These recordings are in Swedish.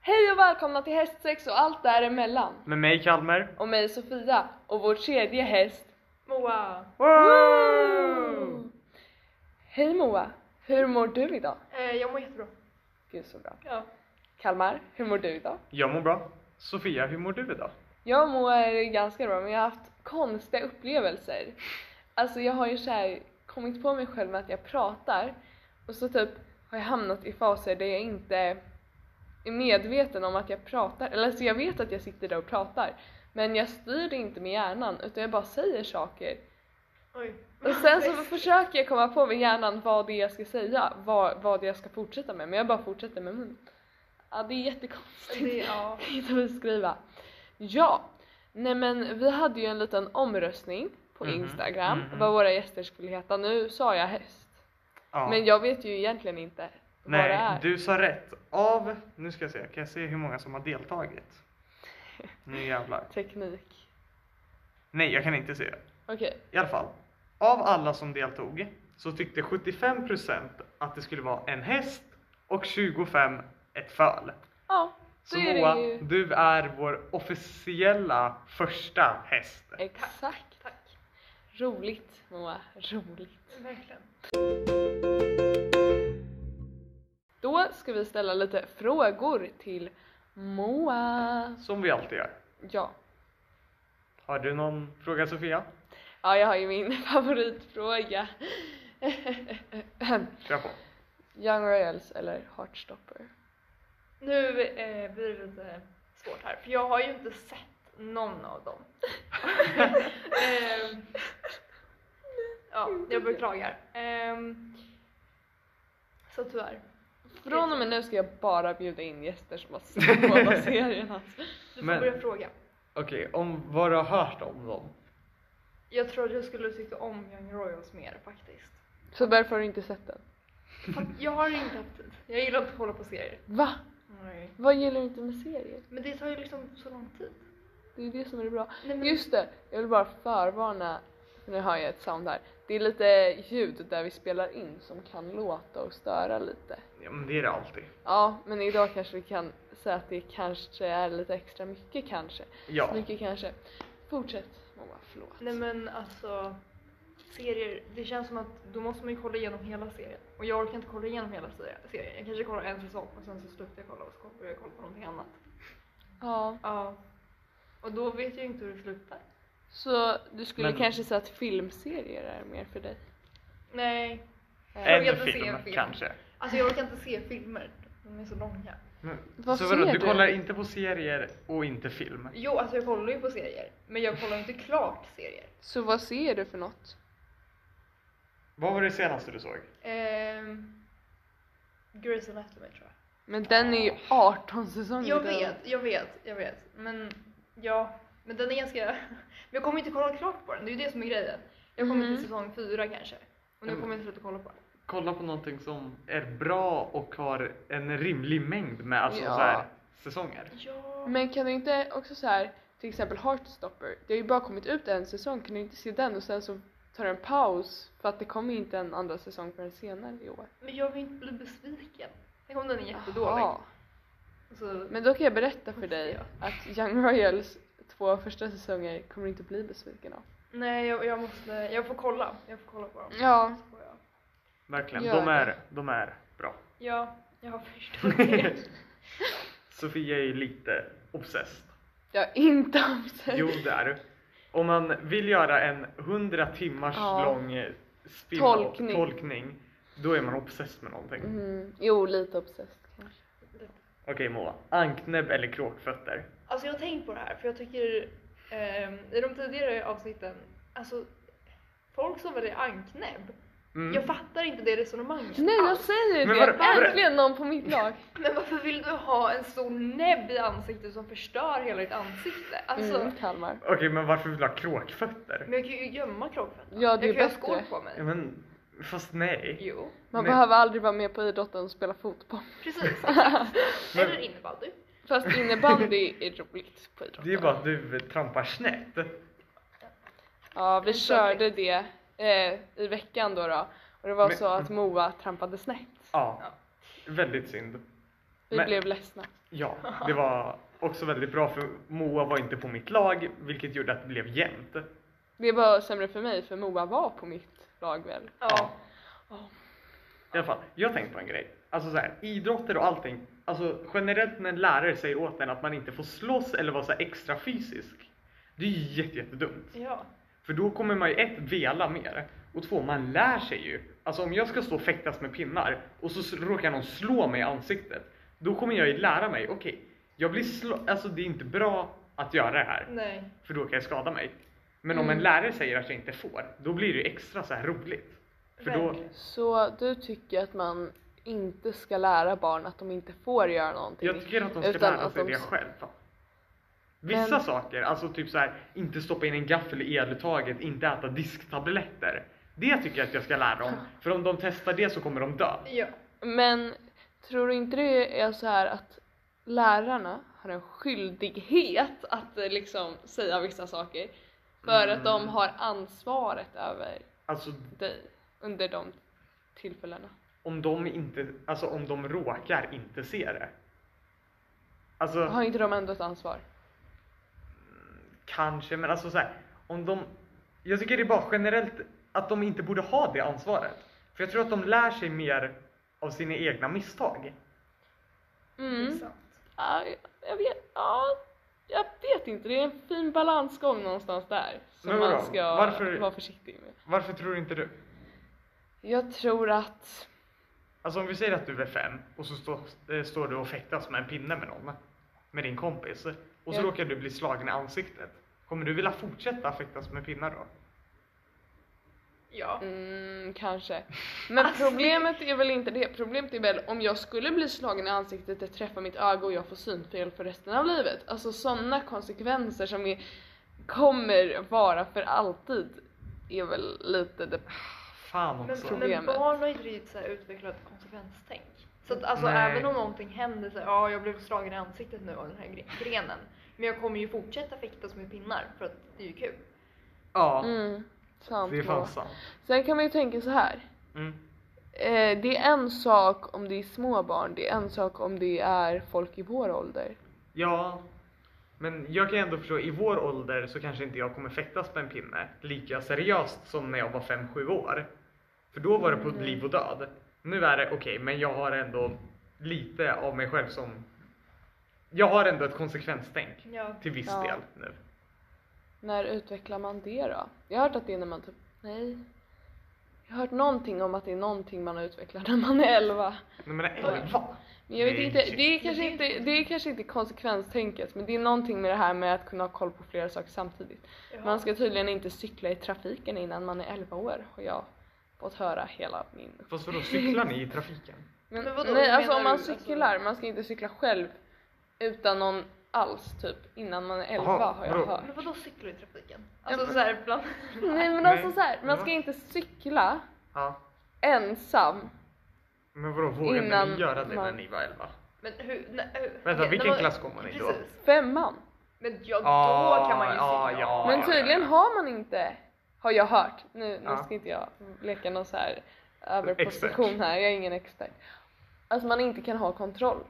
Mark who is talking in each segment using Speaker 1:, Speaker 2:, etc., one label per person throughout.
Speaker 1: Hej och välkomna till hästsex och allt däremellan.
Speaker 2: Med mig Kalmer.
Speaker 1: Och mig Sofia och vår tredje häst
Speaker 3: Moa,
Speaker 2: Wow!
Speaker 1: Hej Moa, hur mår du idag?
Speaker 3: eh, jag mår jättebra.
Speaker 1: Gud så bra.
Speaker 3: Ja.
Speaker 1: Kalmar, hur mår du idag?
Speaker 2: Jag mår bra. Sofia, hur mår du idag?
Speaker 1: Jag mår ganska bra men jag har haft konstiga upplevelser. Alltså jag har ju så här kommit på mig själv med att jag pratar och så typ har jag hamnat i faser där jag inte är medveten om att jag pratar. Eller alltså jag vet att jag sitter där och pratar men jag styr det inte med hjärnan utan jag bara säger saker.
Speaker 3: Oj.
Speaker 1: Och sen så försöker jag komma på med hjärnan vad det är jag ska säga, vad, vad jag ska fortsätta med men jag bara fortsätter med munnen. Ja det är jättekonstigt.
Speaker 3: Det, ja.
Speaker 1: Inte beskriva. Ja, nej men vi hade ju en liten omröstning på
Speaker 2: Mhm,
Speaker 1: Instagram
Speaker 2: mhm.
Speaker 1: vad våra gäster skulle heta. Nu sa jag häst,
Speaker 2: Ja.
Speaker 1: men jag vet ju egentligen inte vad det
Speaker 2: Nej,
Speaker 1: är.
Speaker 2: du sa rätt. Av, nu ska jag se, kan jag se hur många som har deltagit? Nu jävlar.
Speaker 1: Teknik.
Speaker 2: Nej, jag kan inte se.
Speaker 1: Okej,
Speaker 2: I alla fall, av alla som deltog så tyckte 75% att det skulle vara en häst och 25% ett föl.
Speaker 1: ja
Speaker 2: Så
Speaker 1: Då är det
Speaker 2: Moa,
Speaker 1: ju-
Speaker 2: du är vår officiella första häst.
Speaker 1: exakt.
Speaker 3: Tack.
Speaker 1: Roligt Moa, roligt.
Speaker 3: Verkligen.
Speaker 1: Då ska vi ställa lite frågor till Moa.
Speaker 2: Som vi alltid gör.
Speaker 1: Ja,
Speaker 2: Har du någon fråga Sofia?
Speaker 1: ja jag har ju min favoritfråga.
Speaker 2: Kör på.
Speaker 1: Young Royals eller Heartstopper?
Speaker 3: Nu eh, blir det lite svårt här, för jag har ju inte sett någon av dem. Ehm, ja, jag beklagar. Ehm, så tyvärr.
Speaker 1: Från och med nu ska jag bara bjuda in gäster som har alltså. sett båda serierna.
Speaker 3: Du får
Speaker 2: Men-
Speaker 3: börja fråga.
Speaker 2: Okej, om vad du har hört om dem.
Speaker 3: Jag tror att jag skulle tycka om Young Royals mer faktiskt.
Speaker 1: Så därför har du inte sett den?
Speaker 3: För att jag har inte haft tid. Jag gillar inte att hålla på serier.
Speaker 1: Va?
Speaker 3: Nej.
Speaker 1: Vad gillar du inte med serier?
Speaker 3: Men det tar ju liksom så lång tid.
Speaker 1: Det är ju det som är det bra.
Speaker 3: Nej, men-
Speaker 1: Just det, jag vill bara förvarna. Nu har jag ett sound här. Det är lite ljud där vi spelar in som kan låta och störa lite.
Speaker 2: Ja men det är det alltid.
Speaker 1: Ja, men idag kanske vi kan säga att det kanske är lite extra mycket kanske.
Speaker 2: Ja.
Speaker 1: Mycket kanske. Fortsätt Moa, förlåt.
Speaker 3: Nej men alltså, serier, det känns som att då måste man ju kolla igenom hela serien. Och jag orkar inte kolla igenom hela se- serien. Jag kanske kollar en säsong och sen så slutar jag kolla och så börjar jag kolla på någonting annat.
Speaker 1: Ja,
Speaker 3: Ja. Och då vet jag ju inte hur det slutar.
Speaker 1: så du skulle
Speaker 2: Men-
Speaker 1: kanske säga att filmserier är mer för dig?
Speaker 3: Nej.
Speaker 1: Eh,
Speaker 3: Äh. Jag
Speaker 2: En
Speaker 3: vill se
Speaker 2: film,
Speaker 3: en film.
Speaker 2: kanske.
Speaker 3: Alltså jag orkar inte se filmer. De är så långa.
Speaker 2: Men,
Speaker 1: Vad
Speaker 2: så vadå,
Speaker 1: ser
Speaker 2: du
Speaker 1: du?
Speaker 2: kollar inte på serier och inte film?
Speaker 3: Jo, alltså jag kollar ju på serier. Men jag kollar ju inte klart serier.
Speaker 1: Så vad ser du för något?
Speaker 2: Vad var det senaste du såg?
Speaker 3: Ehm... Grey's Anatomy tror jag.
Speaker 1: Men den är ju 18 säsonger typ.
Speaker 3: Jag
Speaker 1: lång.
Speaker 3: vet, jag vet, jag vet. Men ja, men den är ganska... Men jag kommer inte kolla klart på den, det är ju det som är grejen. Jag kommer
Speaker 1: Mhm.
Speaker 3: till säsong fyra kanske. Och nu
Speaker 2: Mm.
Speaker 3: kommer jag sluta kolla på den.
Speaker 2: Kolla på någonting som är bra och har en rimlig mängd med alltså,
Speaker 1: Ja.
Speaker 2: så här, säsonger.
Speaker 3: Ja.
Speaker 1: Men kan du inte också så här, till exempel Heartstopper, det har ju bara kommit ut en säsong, kan du inte se den och sen så tar du en paus för att det kommer ju inte en andra säsong förrän senare i år?
Speaker 3: Men jag vill inte bli besviken. Tänk om den är jättedålig. Alltså,
Speaker 1: Jaha.
Speaker 3: Så,
Speaker 1: Men då kan jag berätta för
Speaker 3: Får
Speaker 1: dig
Speaker 3: se.
Speaker 1: att Young Royals två första säsonger kommer du inte bli besviken av.
Speaker 3: nej, jag, jag måste... Jag får kolla. Jag får kolla på dem.
Speaker 1: Ja,
Speaker 3: Så får jag-
Speaker 2: Verkligen,
Speaker 1: Gör
Speaker 2: de
Speaker 1: det.
Speaker 2: är, de är bra.
Speaker 3: Ja, jag har förstått det.
Speaker 2: Sofia är ju lite obsessed.
Speaker 1: jag är inte obsessed.
Speaker 2: Jo det är du. Om man vill göra en 100 timmars
Speaker 1: Ja.
Speaker 2: lång eh, spin-
Speaker 1: Tolkning.
Speaker 2: tolkning, då är man obsessed med någonting.
Speaker 1: Mm, jo, lite obsessed kanske.
Speaker 2: Okej Moa, anknäbb eller kråkfötter?
Speaker 3: Alltså jag har tänkt på det här för jag tycker ehm, i de tidigare avsnitten, alltså folk som väljer anknäbb,
Speaker 2: Mm.
Speaker 3: jag fattar inte det resonemanget
Speaker 1: Nej, jag
Speaker 3: alls.
Speaker 1: säger
Speaker 2: Men
Speaker 1: det!
Speaker 2: vadå, vadå?
Speaker 1: Äntligen någon på mitt lag!
Speaker 3: Men varför vill du ha en stor näbb i ansiktet som förstör hela ditt ansikte? Alltså,
Speaker 1: Mm, Kalmar.
Speaker 2: Okej men varför vill du Mm. ha kråkfötter?
Speaker 3: men jag kan ju gömma kroppen.
Speaker 1: Ja, det är
Speaker 3: jag kan ju ha
Speaker 1: bättre.
Speaker 3: skor på mig.
Speaker 2: Ja, men fast nej.
Speaker 3: Jo,
Speaker 1: Man
Speaker 2: Men-
Speaker 1: behöver aldrig vara med på idrotten och spela fotboll.
Speaker 3: precis.
Speaker 2: Men-
Speaker 3: Eller innebandy.
Speaker 1: Fast innebandy är roligt på idrotten.
Speaker 2: Det är ju bara att du trampar snett.
Speaker 1: Ja, vi
Speaker 3: Jag tror
Speaker 1: körde det eh, i veckan då, då. Och det var
Speaker 2: Men-
Speaker 1: så att Moa trampade snett.
Speaker 2: Ja, väldigt synd.
Speaker 1: Vi
Speaker 2: Men-
Speaker 1: blev ledsna.
Speaker 2: Ja, det var också väldigt bra för Moa var inte på mitt lag, vilket gjorde att det blev jämnt.
Speaker 1: Det var sämre för mig för Moa var på mitt lag väl?
Speaker 3: Ja.
Speaker 2: I alla fall, jag har tänkt på en grej. Alltså så här, idrotter och allting. Alltså generellt när en lärare säger åt en att man inte får slåss eller vara så här extra fysisk. Det är ju jätte, jättedumt.
Speaker 3: Ja.
Speaker 2: För då kommer man ju ett, vela mer. Och två, man lär sig ju. Alltså om jag ska stå och fäktas med pinnar och så s- råkar någon slå mig i ansiktet. Då kommer jag ju lära mig, okej, jag blir slå... Alltså det är inte bra att göra det här.
Speaker 3: Nej.
Speaker 2: För då kan jag skada mig. Men om
Speaker 1: Mm.
Speaker 2: en lärare säger att jag inte får, då blir det ju extra så här roligt. För då,
Speaker 3: Verkligen.
Speaker 1: Så du tycker att man inte ska lära barn att de inte får göra någonting?
Speaker 2: jag tycker att de ska
Speaker 1: Utan
Speaker 2: lära
Speaker 1: att
Speaker 2: sig
Speaker 1: de-
Speaker 2: det själva. Vissa
Speaker 1: Men-
Speaker 2: saker, alltså typ så här, inte stoppa in en gaffel i eluttaget, inte äta disktabletter. Det tycker jag att jag ska lära dem. För om de testar det så kommer de dö.
Speaker 3: Ja.
Speaker 1: Men tror du inte det är så här att lärarna har en skyldighet att eh, liksom säga vissa saker? För att de
Speaker 2: Mm.
Speaker 1: har ansvaret över
Speaker 2: Alltså
Speaker 1: dig under de tillfällena.
Speaker 2: om de inte, alltså om de råkar inte se det. Alltså,
Speaker 1: Har inte de ändå ett ansvar?
Speaker 2: kanske, men alltså så här, om de, jag tycker det är bara generellt att de inte borde ha det ansvaret. För jag tror att de lär sig mer av sina egna misstag.
Speaker 3: Det är
Speaker 1: Mm.
Speaker 3: sant.
Speaker 1: Ja, jag vet, ja, jag vet inte, det är en fin balansgång någonstans där som
Speaker 2: Men vadå?
Speaker 1: man ska
Speaker 2: Varför-
Speaker 1: vara försiktig med.
Speaker 2: Varför tror inte du?
Speaker 1: Jag tror att,
Speaker 2: Alltså om vi säger att du är fem och så står, eh, står du och fäktas med en pinne med någon, med din kompis, och så
Speaker 1: Ja.
Speaker 2: råkar du bli slagen i ansiktet. Kommer du vilja fortsätta fäktas med pinnar då?
Speaker 3: Ja.
Speaker 1: mm, kanske. Men problemet är väl inte det, problemet är väl om jag skulle bli slagen i ansiktet, det träffar mitt öga och jag får synfel för resten av livet. Alltså sådana konsekvenser som är, kommer vara för alltid är väl lite det
Speaker 2: Fan också.
Speaker 3: Men,
Speaker 1: Problem.
Speaker 3: men
Speaker 1: Problemet.
Speaker 3: barn har inte riktigt så här utvecklat konsekvenstänk. Så att alltså
Speaker 2: Nej.
Speaker 3: även om någonting händer så här, ja jag blev slagen i ansiktet nu av den här gre- grenen. Men jag kommer ju fortsätta fäktas med pinnar för att det är ju kul.
Speaker 2: Ja,
Speaker 1: Mm, sant.
Speaker 2: det är
Speaker 1: Moa.
Speaker 2: fan sant.
Speaker 1: Sen kan man ju tänka så här.
Speaker 2: Mm.
Speaker 1: Eh, det är en sak om det är små barn, det är en sak om det är folk i vår ålder.
Speaker 2: Ja, men jag kan ändå förstå, i vår ålder så kanske inte jag kommer fäktas med en pinne lika seriöst som när jag var 5-7 år. För då var det på
Speaker 1: Mm.
Speaker 2: liv och död. Nu är det okej, men jag har ändå lite av mig själv som... Jag har ändå ett konsekvenstänk.
Speaker 3: Ja.
Speaker 2: Till viss
Speaker 1: Ja.
Speaker 2: del nu.
Speaker 1: När utvecklar man det då? Jag har hört att det är när man typ, nej. Jag har hört någonting om att det är någonting man utvecklar när man är 11.
Speaker 2: Nej men elva?
Speaker 1: Men jag vet
Speaker 2: Nej.
Speaker 1: inte, det är kanske inte, det är kanske inte konsekvenstänket men det är någonting med det här med att kunna ha koll på flera saker samtidigt.
Speaker 3: Ja.
Speaker 1: Man ska tydligen inte cykla i trafiken innan man är 11 år har jag fått höra hela min
Speaker 2: Fast vadå, cyklar ni i trafiken?
Speaker 1: Men,
Speaker 3: Men vadå,
Speaker 1: nej,
Speaker 3: menar
Speaker 1: alltså om man
Speaker 3: du, alltså-
Speaker 1: cyklar, man ska inte cykla själv utan någon alls typ innan man är 11
Speaker 2: Jaha,
Speaker 1: har jag
Speaker 2: vadå?
Speaker 1: hört.
Speaker 3: Men vadå cyklar i trafiken?
Speaker 1: Ja,
Speaker 3: Alltså
Speaker 1: men-
Speaker 3: så här bland...
Speaker 1: Nej men
Speaker 2: Nej.
Speaker 1: alltså så här, man ska
Speaker 2: Va?
Speaker 1: inte cykla
Speaker 2: Ja.
Speaker 1: ensam.
Speaker 2: Men vadå, vågade
Speaker 1: Innan
Speaker 2: ni göra det
Speaker 1: man-
Speaker 2: när ni var elva?
Speaker 3: Men hur... Nej, hur okej,
Speaker 2: Vänta,
Speaker 3: när
Speaker 2: vilken
Speaker 3: man-
Speaker 2: klass går man i då?
Speaker 3: Precis.
Speaker 1: Femman.
Speaker 3: Men ja,
Speaker 2: Ah,
Speaker 3: då kan man ju
Speaker 2: ja,
Speaker 3: cykla.
Speaker 2: ja.
Speaker 1: Men tydligen har man inte, har jag hört. Nu, nu
Speaker 2: Ja.
Speaker 1: ska inte jag leka någon så här överposition
Speaker 2: Expert.
Speaker 1: här, jag är ingen expert. Alltså man inte kan ha kontroll.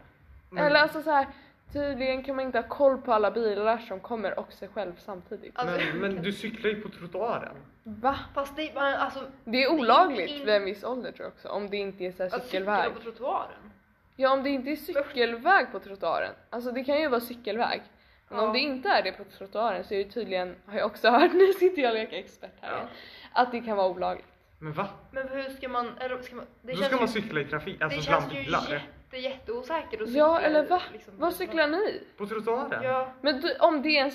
Speaker 2: Men-
Speaker 1: Eller alltså så här, tydligen kan man inte ha koll på alla bilar som kommer och sig själv samtidigt.
Speaker 3: Alltså,
Speaker 2: Men, men du cyklar ju på trottoaren.
Speaker 1: Va?
Speaker 3: Fast det är alltså...
Speaker 1: Det är Alltså, olagligt vid en viss ålder tror jag också, om det inte är så här
Speaker 3: Att cykla
Speaker 1: cykelväg.
Speaker 3: på trottoaren.
Speaker 1: Ja, om det inte är cykelväg på trottoaren. Alltså det kan ju vara cykelväg. Men om
Speaker 3: Ja.
Speaker 1: det inte är det på trottoaren så är det tydligen, har jag också hört, nu sitter jag och leker expert här igen, att det kan vara olagligt.
Speaker 2: Men va?
Speaker 3: Men hur ska man... Eller ska man... Det
Speaker 2: Då ska man cykla i trafik, alltså
Speaker 3: det
Speaker 2: bland
Speaker 3: känns ju
Speaker 2: bilar.
Speaker 3: jätte, jätteosäkert att
Speaker 1: Ja,
Speaker 3: cykla
Speaker 1: eller
Speaker 3: i,
Speaker 1: va?
Speaker 3: liksom,
Speaker 1: Vad cyklar ni?
Speaker 2: På trottoaren?
Speaker 3: Ja.
Speaker 1: Men du, om det är en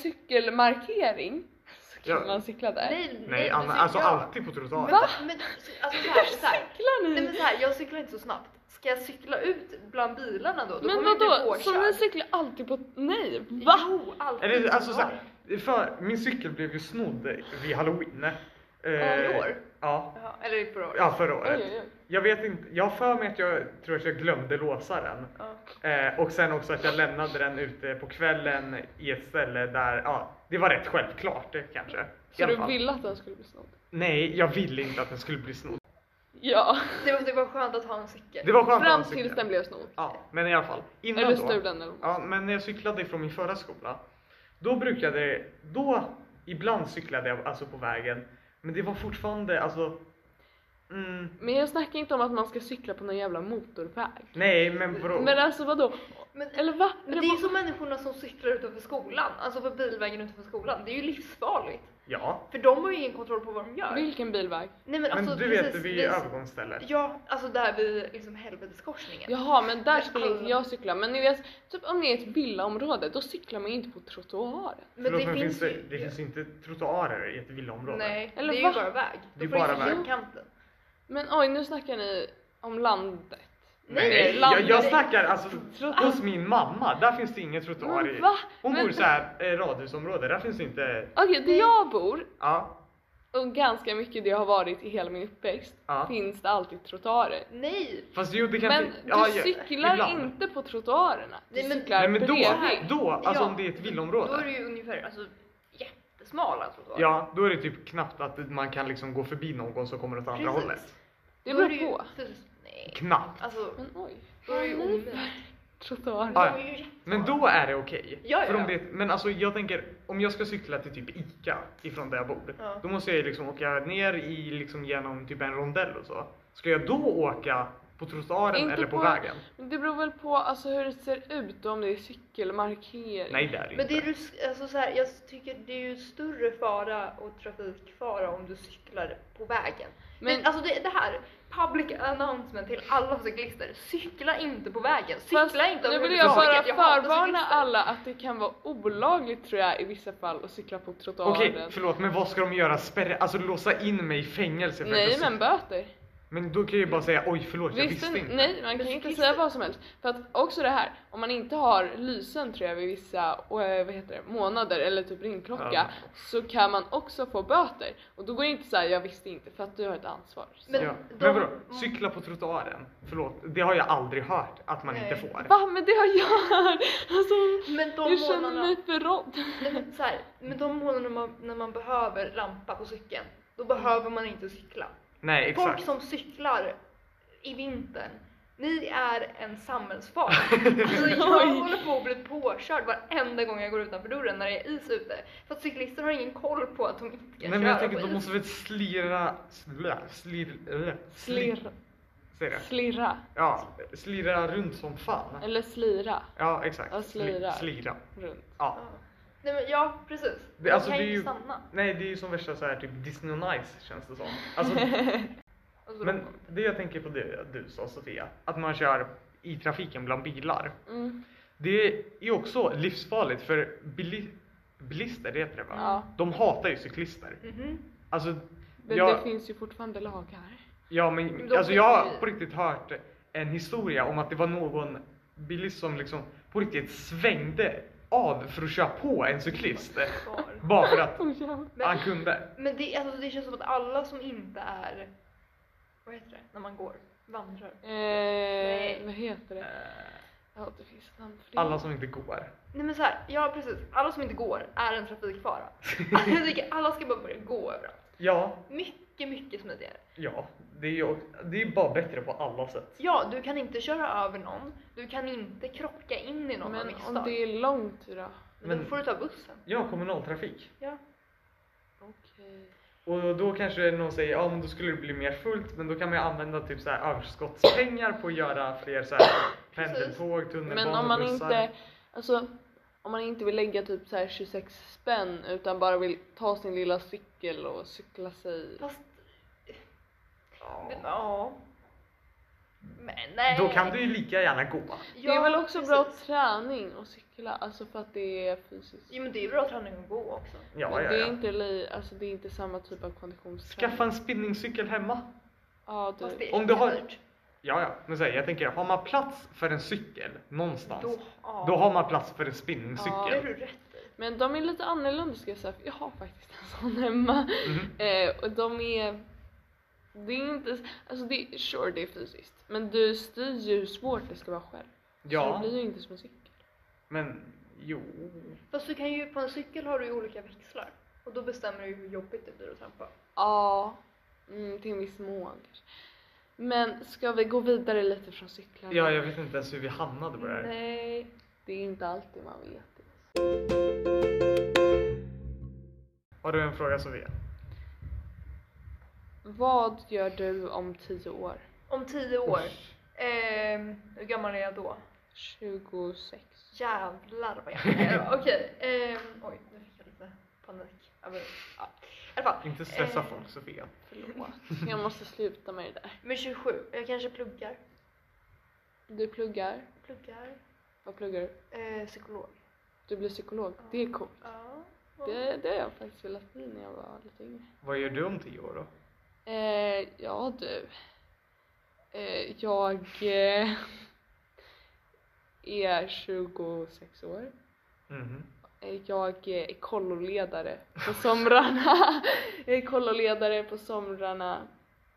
Speaker 1: cykelmarkering så kan
Speaker 2: Ja.
Speaker 1: man cykla där.
Speaker 3: Nej,
Speaker 2: Nej,
Speaker 3: men
Speaker 2: Anna,
Speaker 3: cykla-
Speaker 2: alltså
Speaker 3: ja.
Speaker 2: alltid på trottoaren.
Speaker 1: Va?
Speaker 3: Men alltså så här, så här.
Speaker 1: Cyklar
Speaker 3: Nej, men
Speaker 1: ni?
Speaker 3: så här, jag cyklar inte så snabbt. Ska jag cykla ut bland bilarna då? Då
Speaker 1: Men
Speaker 3: kommer jag bli
Speaker 1: vadå,
Speaker 3: påkörd.
Speaker 1: så ni cyklar alltid på... Nej, va?
Speaker 3: Jo, alltid.
Speaker 2: Eller alltså
Speaker 3: på
Speaker 2: såhär, för min cykel blev ju snodd vid halloween. Eh,
Speaker 3: i år?
Speaker 2: Ja.
Speaker 3: Jaha, eller förra året?
Speaker 2: ja, förra året.
Speaker 1: Oj, oj, oj.
Speaker 2: Jag vet inte, jag har för mig att jag tror att jag glömde låsa den.
Speaker 3: Ja.
Speaker 2: Eh, och sen också att jag lämnade den ute på kvällen i ett ställe där, ja, det var rätt självklart eh, kanske. I
Speaker 1: Så
Speaker 2: alla
Speaker 1: du
Speaker 2: fall.
Speaker 1: ville att den skulle bli snodd?
Speaker 2: Nej, jag ville inte att den skulle bli snodd.
Speaker 1: Ja.
Speaker 3: Det, var, det var skönt att ha en cykel.
Speaker 2: Det var skönt att ha
Speaker 1: Fram
Speaker 2: en cykel.
Speaker 1: tills den blev snodd.
Speaker 2: Ja, men i alla fall. Innan
Speaker 1: Eller
Speaker 2: då.
Speaker 1: stulen eller något.
Speaker 2: Ja, men när jag cyklade ifrån min förra skola, då brukade, då, ibland cyklade jag alltså på vägen, men det var fortfarande alltså, mm,
Speaker 1: Men jag snackar inte om att man ska cykla på någon jävla motorväg.
Speaker 2: nej men bro,
Speaker 1: Men alltså vadå?
Speaker 3: Men,
Speaker 1: Eller va?
Speaker 3: men det är ju som människorna som cyklar utanför skolan, alltså på bilvägen utanför skolan. Det är ju livsfarligt.
Speaker 2: ja.
Speaker 3: För de har ju ingen kontroll på vad de gör.
Speaker 1: Vilken bilväg?
Speaker 3: Nej men
Speaker 2: Men
Speaker 3: alltså
Speaker 2: du vet,
Speaker 3: precis,
Speaker 2: vid
Speaker 3: det är-
Speaker 2: övergångsstället.
Speaker 3: Ja, alltså där vid liksom helveteskorsningen.
Speaker 1: Jaha, men där skulle
Speaker 3: alla-
Speaker 1: inte jag cykla. Men ni vet, typ om ni är i ett villaområde, då cyklar man ju inte på trottoaren.
Speaker 3: men
Speaker 2: Förlåt, men finns det,
Speaker 3: ju-
Speaker 2: det finns ju inte trottoarer i ett villaområde.
Speaker 3: Nej,
Speaker 1: Eller
Speaker 3: det är
Speaker 1: va?
Speaker 3: ju bara väg.
Speaker 2: Det är
Speaker 3: Då får
Speaker 2: bara
Speaker 3: du cykla
Speaker 1: väg.
Speaker 3: på kanten.
Speaker 1: Men oj, nu snackar ni om landet.
Speaker 2: Nej, jag,
Speaker 1: landet.
Speaker 2: jag snackar alltså hos min mamma, där finns det ingen trottoar
Speaker 1: Men
Speaker 2: i.
Speaker 1: va?
Speaker 2: Hon
Speaker 1: Men-
Speaker 2: bor i så här eh, radhusområde, där finns det inte,
Speaker 1: Okej, där
Speaker 3: Nej.
Speaker 1: jag bor,
Speaker 2: ja,
Speaker 1: och ganska mycket det har varit i hela min uppväxt,
Speaker 2: Ja.
Speaker 1: finns det alltid trottoarer.
Speaker 3: Nej!
Speaker 2: fast jo det kan
Speaker 1: Men
Speaker 2: fin-
Speaker 1: du
Speaker 2: ja, ja,
Speaker 1: cyklar
Speaker 2: ibland.
Speaker 1: inte på trottoarerna. Du
Speaker 3: Nej, men-
Speaker 1: cyklar
Speaker 2: Nej men då,
Speaker 1: bredvid.
Speaker 2: då alltså
Speaker 3: Ja,
Speaker 2: om det är ett
Speaker 3: Då är det
Speaker 2: villaområde.
Speaker 3: ju ungefär alltså, jättesmala trottoarer.
Speaker 2: Ja, då är det typ knappt att man kan liksom gå förbi någon som kommer åt andra
Speaker 3: Precis.
Speaker 2: hållet.
Speaker 1: Det
Speaker 3: Då är
Speaker 1: beror
Speaker 3: ju
Speaker 1: på.
Speaker 3: fysiskt- Nej,
Speaker 2: Knappt.
Speaker 3: alltså
Speaker 1: Men oj.
Speaker 3: då är det ju
Speaker 1: Nej,
Speaker 3: omöjligt.
Speaker 1: Trottoarer.
Speaker 2: Ja,
Speaker 3: De är ju jättesmala.
Speaker 2: Men då är det okej.
Speaker 3: Ja, ja,
Speaker 2: För om
Speaker 3: ja.
Speaker 2: det, men alltså jag tänker, om jag ska cykla till typ ICA ifrån där jag bor,
Speaker 3: Ja.
Speaker 2: då måste jag ju liksom åka ner i, liksom genom typ en rondell och så. Ska jag då åka på trottoaren
Speaker 1: Inte
Speaker 2: eller på,
Speaker 1: på-
Speaker 2: vägen?
Speaker 1: Men det beror väl på alltså, hur det ser ut och om det är cykelmarkering.
Speaker 2: Nej det är det
Speaker 3: Men det är
Speaker 2: inte.
Speaker 3: ju, alltså så här, jag tycker det är ju större fara och trafikfara om du cyklar på vägen. Men,
Speaker 1: Men-
Speaker 3: alltså det, det här, public announcement till alla cyklister. Cykla inte på vägen. Cykla
Speaker 1: Fast
Speaker 3: inte
Speaker 1: nu vill jag bara
Speaker 3: överhuvudtaget. hatar
Speaker 1: förvarna
Speaker 3: cyklister.
Speaker 1: alla att det kan vara olagligt tror jag i vissa fall att cykla på
Speaker 2: Okej,
Speaker 1: trottoaren.
Speaker 2: förlåt men vad ska de göra? Spärra, alltså låsa in mig i fängelse för att
Speaker 1: nej
Speaker 2: jag
Speaker 1: men
Speaker 2: cyklar?
Speaker 1: böter.
Speaker 2: Men då kan jag ju bara säga oj förlåt jag visste
Speaker 1: Visste,
Speaker 2: inte.
Speaker 1: nej, man
Speaker 3: Men
Speaker 1: kan inte
Speaker 3: cyklister-
Speaker 1: säga vad som helst. För att också det här, om man inte har lysen tror jag vid vissa och, eh, vad heter det, månader eller typ ringklocka
Speaker 2: Ja.
Speaker 1: så kan man också få böter. Och då går det inte säga jag visste inte för att du har ett ansvar. Så.
Speaker 3: Men
Speaker 2: ja.
Speaker 3: de-
Speaker 2: men vadå, cykla på trottoaren? Förlåt, det har jag aldrig hört att man
Speaker 3: Nej.
Speaker 2: inte får.
Speaker 1: Va? Men det har jag hört! Alltså,
Speaker 3: Men de
Speaker 1: jag känner
Speaker 3: månaderna,
Speaker 1: mig förrådd.
Speaker 3: nej, men så här, men de månaderna man, när man behöver lampa på cykeln,
Speaker 1: Mm.
Speaker 3: då behöver man inte cykla.
Speaker 2: Nej
Speaker 3: Folk
Speaker 2: exakt.
Speaker 3: som cyklar i vintern, ni är en samhällsfara. alltså jag
Speaker 1: Oj.
Speaker 3: håller på att bli påkörd varenda gång jag går utanför dörren när det är is ute. För att cyklister har ingen koll på att de inte kan
Speaker 2: Nej men
Speaker 3: köra
Speaker 2: jag tänker
Speaker 3: på
Speaker 2: de
Speaker 3: is.
Speaker 2: måste väl slira, slira, slira, slira,
Speaker 1: Slirra.
Speaker 2: Säger jag.
Speaker 1: Slirra.
Speaker 2: Ja, slira runt som fan.
Speaker 1: Eller slira
Speaker 2: Ja, exakt.
Speaker 1: Ja, slira.
Speaker 2: Sli- slira.
Speaker 1: runt.
Speaker 2: Ja.
Speaker 3: Ja. Nej men ja, precis.
Speaker 2: Det-
Speaker 3: de
Speaker 2: alltså,
Speaker 3: kan
Speaker 2: det är
Speaker 3: ju
Speaker 2: ju-
Speaker 3: stanna.
Speaker 2: Nej, det är ju som värsta så här typ Disney on Ice känns det som. Alltså,
Speaker 3: Alltså,
Speaker 2: men det jag tänker på det du sa Sofia, att man kör i trafiken bland bilar.
Speaker 1: Mm.
Speaker 2: Det är också livsfarligt för bili- bilister, det heter det va?
Speaker 1: Ja.
Speaker 2: De hatar ju cyklister.
Speaker 3: de- Mhm.
Speaker 2: Alltså,
Speaker 1: Men
Speaker 2: jag,
Speaker 1: det finns ju fortfarande lagar.
Speaker 2: Ja
Speaker 3: Men
Speaker 2: men
Speaker 3: de
Speaker 2: alltså
Speaker 3: fick
Speaker 2: jag
Speaker 3: ju-
Speaker 2: har på riktigt hört en historia om att det var någon bilist som liksom på riktigt svängde av för att köra på en cyklist.
Speaker 3: Var.
Speaker 2: Bara för att
Speaker 1: Åh, jävlar.
Speaker 2: han
Speaker 3: Men,
Speaker 2: kunde.
Speaker 3: men det, alltså, det känns som att alla som inte är, vad heter det, när man går, vandrar.
Speaker 1: Eh, vad heter det? Ja, det finns ett namn för det.
Speaker 2: Alla som inte går.
Speaker 3: Nej men så här, ja precis, alla som inte går är en trafikfara. Alltså, Jag tycker alla ska bara börja gå överallt.
Speaker 2: Ja,
Speaker 3: Mycket, mycket smidigare.
Speaker 2: ja. Det är ju det är bara bättre på alla sätt.
Speaker 3: Ja, du kan inte köra över någon, du kan inte krocka in i någon av
Speaker 1: Men
Speaker 3: misstag.
Speaker 1: om det är långt då?
Speaker 3: Men då
Speaker 2: Men-
Speaker 3: får du ta bussen.
Speaker 2: Ja, kommunaltrafik.
Speaker 3: Ja.
Speaker 1: Okej.
Speaker 2: Och då kanske någon säger ja men då skulle det bli mer fullt men då kan man ju använda typ så här överskottspengar på att göra fler så här pendeltåg,
Speaker 1: Men
Speaker 2: tunnelbanor,
Speaker 1: om man
Speaker 2: bussar.
Speaker 1: inte, alltså om man inte vill lägga typ så här 26 spänn utan bara vill ta sin lilla cykel och cykla sig.
Speaker 3: Fast,
Speaker 2: Ja.
Speaker 3: ja. Men nej.
Speaker 1: Eh,
Speaker 2: Då kan du ju lika gärna gå.
Speaker 1: det är väl
Speaker 3: Ja,
Speaker 1: också
Speaker 3: precis.
Speaker 1: bra träning att cykla, alltså för att det är fysiskt.
Speaker 3: Jo men det är bra träning att gå också.
Speaker 2: Ja,
Speaker 1: Men
Speaker 2: ja,
Speaker 1: det,
Speaker 2: ja.
Speaker 1: är inte li, alltså det är inte samma typ av konditionsträning.
Speaker 2: Skaffa en spinningcykel hemma.
Speaker 1: Ja, typ.
Speaker 3: Fast
Speaker 1: du.
Speaker 3: det är
Speaker 2: Om du har-
Speaker 3: jättedyrt.
Speaker 2: Ja, ja, men så här, jag tänker, har man plats för en cykel någonstans,
Speaker 3: Då, ja.
Speaker 2: då har man plats för en
Speaker 1: Ja.
Speaker 2: spinningcykel.
Speaker 3: Det har du rätt i.
Speaker 1: Men de är lite annorlunda ska jag säga, för jag har faktiskt en sån hemma.
Speaker 2: Mhm.
Speaker 1: Eh, och de är... Det är inte... Alltså det är, sure det är fysiskt. Men du styr ju hur svårt det ska vara själv. Så det
Speaker 2: Ja,
Speaker 1: blir ju inte som en cykel.
Speaker 2: men jo.
Speaker 3: Fast du kan ju, på en cykel har du ju olika växlar. Och då bestämmer du ju hur jobbigt det blir att trampa.
Speaker 1: Ja, mm, till en viss mån kanske. Men ska vi gå vidare lite från cyklarna?
Speaker 2: Ja, jag vet inte ens hur vi hamnade på det här.
Speaker 3: Nej.
Speaker 1: Det är inte alltid man vet det.
Speaker 2: Har du en fråga Sofia?
Speaker 1: Vad gör du om tio år?
Speaker 3: Om tio år.
Speaker 2: Usch.
Speaker 3: Ehm, hur gammal är jag då?
Speaker 1: 26.
Speaker 3: Jävlar vad jag är. Okej. ehm, oj, nu fick jag lite panik. Ja, men, ja. I alla fall.
Speaker 2: Inte stressa
Speaker 3: Eh.
Speaker 2: folk Sofia.
Speaker 1: Förlåt. Jag måste sluta med det där.
Speaker 3: Men 27. Jag kanske pluggar.
Speaker 1: Du pluggar.
Speaker 3: Pluggar.
Speaker 1: Vad pluggar du?
Speaker 3: Eh, psykolog.
Speaker 1: Du blir psykolog. Det är coolt.
Speaker 3: Ja.
Speaker 1: Det, det har jag faktiskt velat bli när jag var lite yngre.
Speaker 2: Vad gör du om tio år då?
Speaker 1: Eh, ja du. Eh, jag eh, är 26 år.
Speaker 2: Mhm.
Speaker 1: Eh, Jag är kolloledare på somrarna. jag är kolloledare på somrarna.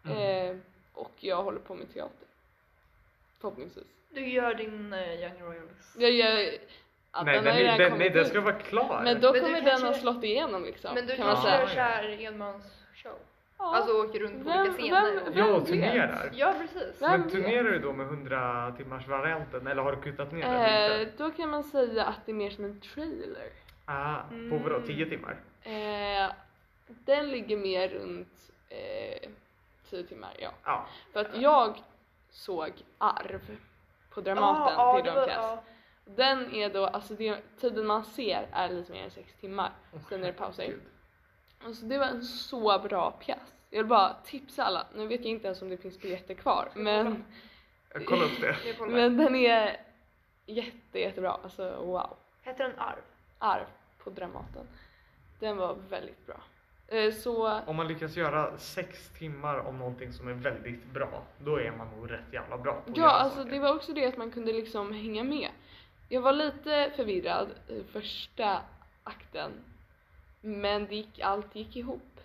Speaker 2: Mm.
Speaker 1: Eh, och jag håller på med teater. Förhoppningsvis.
Speaker 3: Du gör din eh, Young Royals.
Speaker 1: Jag gör... ja,
Speaker 2: Nej, den,
Speaker 1: har ju
Speaker 2: är,
Speaker 1: redan
Speaker 2: den, nej,
Speaker 1: kommit
Speaker 2: den
Speaker 1: ut.
Speaker 2: ska vara klar.
Speaker 1: Men då
Speaker 3: Men du
Speaker 1: kommer den
Speaker 3: kanske-
Speaker 1: ha slått igenom liksom.
Speaker 3: Men du
Speaker 1: kan man
Speaker 3: kanske
Speaker 1: säga.
Speaker 3: gör
Speaker 2: säga.
Speaker 3: såhär enmansshow?
Speaker 1: Ja.
Speaker 3: Alltså åker runt på olika
Speaker 1: Vem-
Speaker 3: scener?
Speaker 1: vem-
Speaker 3: och-
Speaker 2: Ja,
Speaker 1: vet?
Speaker 2: och turnerar.
Speaker 3: Ja, precis.
Speaker 1: Vem
Speaker 2: Men
Speaker 1: vet?
Speaker 2: turnerar du då med 100 timmars varianten eller har du kuttat ner den? eller
Speaker 1: eh,
Speaker 2: inte?
Speaker 1: då kan man säga att det är mer som en trailer.
Speaker 2: Ah,
Speaker 1: Mm.
Speaker 2: på vadå, 10 timmar?
Speaker 1: Eh, den ligger mer runt eh, 10 timmar, ja.
Speaker 2: Ja.
Speaker 1: För att jag såg Arv på Dramaten
Speaker 3: Ja, ja,
Speaker 1: till
Speaker 3: det
Speaker 1: Don
Speaker 3: var-
Speaker 1: Krantz.
Speaker 3: ja.
Speaker 1: Den är då, alltså det, tiden man ser är lite mer än 6 timmar. Sen är det pauser.
Speaker 2: Gud.
Speaker 1: Alltså det var en så bra pjäs. Jag vill bara tipsa alla, nu vet jag inte ens om det finns biljetter kvar men,
Speaker 2: Jag kollar upp det.
Speaker 3: Jag kollar.
Speaker 1: men den är jätte, jättebra. Alltså wow.
Speaker 3: Heter den Arv?
Speaker 1: Arv på Dramaten. Den var väldigt bra. Eh, Så
Speaker 2: Om man lyckas göra 6 timmar om någonting som är väldigt bra, då är man nog rätt jävla bra på att
Speaker 1: Ja,
Speaker 2: göra
Speaker 1: alltså
Speaker 2: saker.
Speaker 1: det var också det att man kunde liksom hänga med. Jag var lite förvirrad i första akten. Men det gick, allt gick ihop.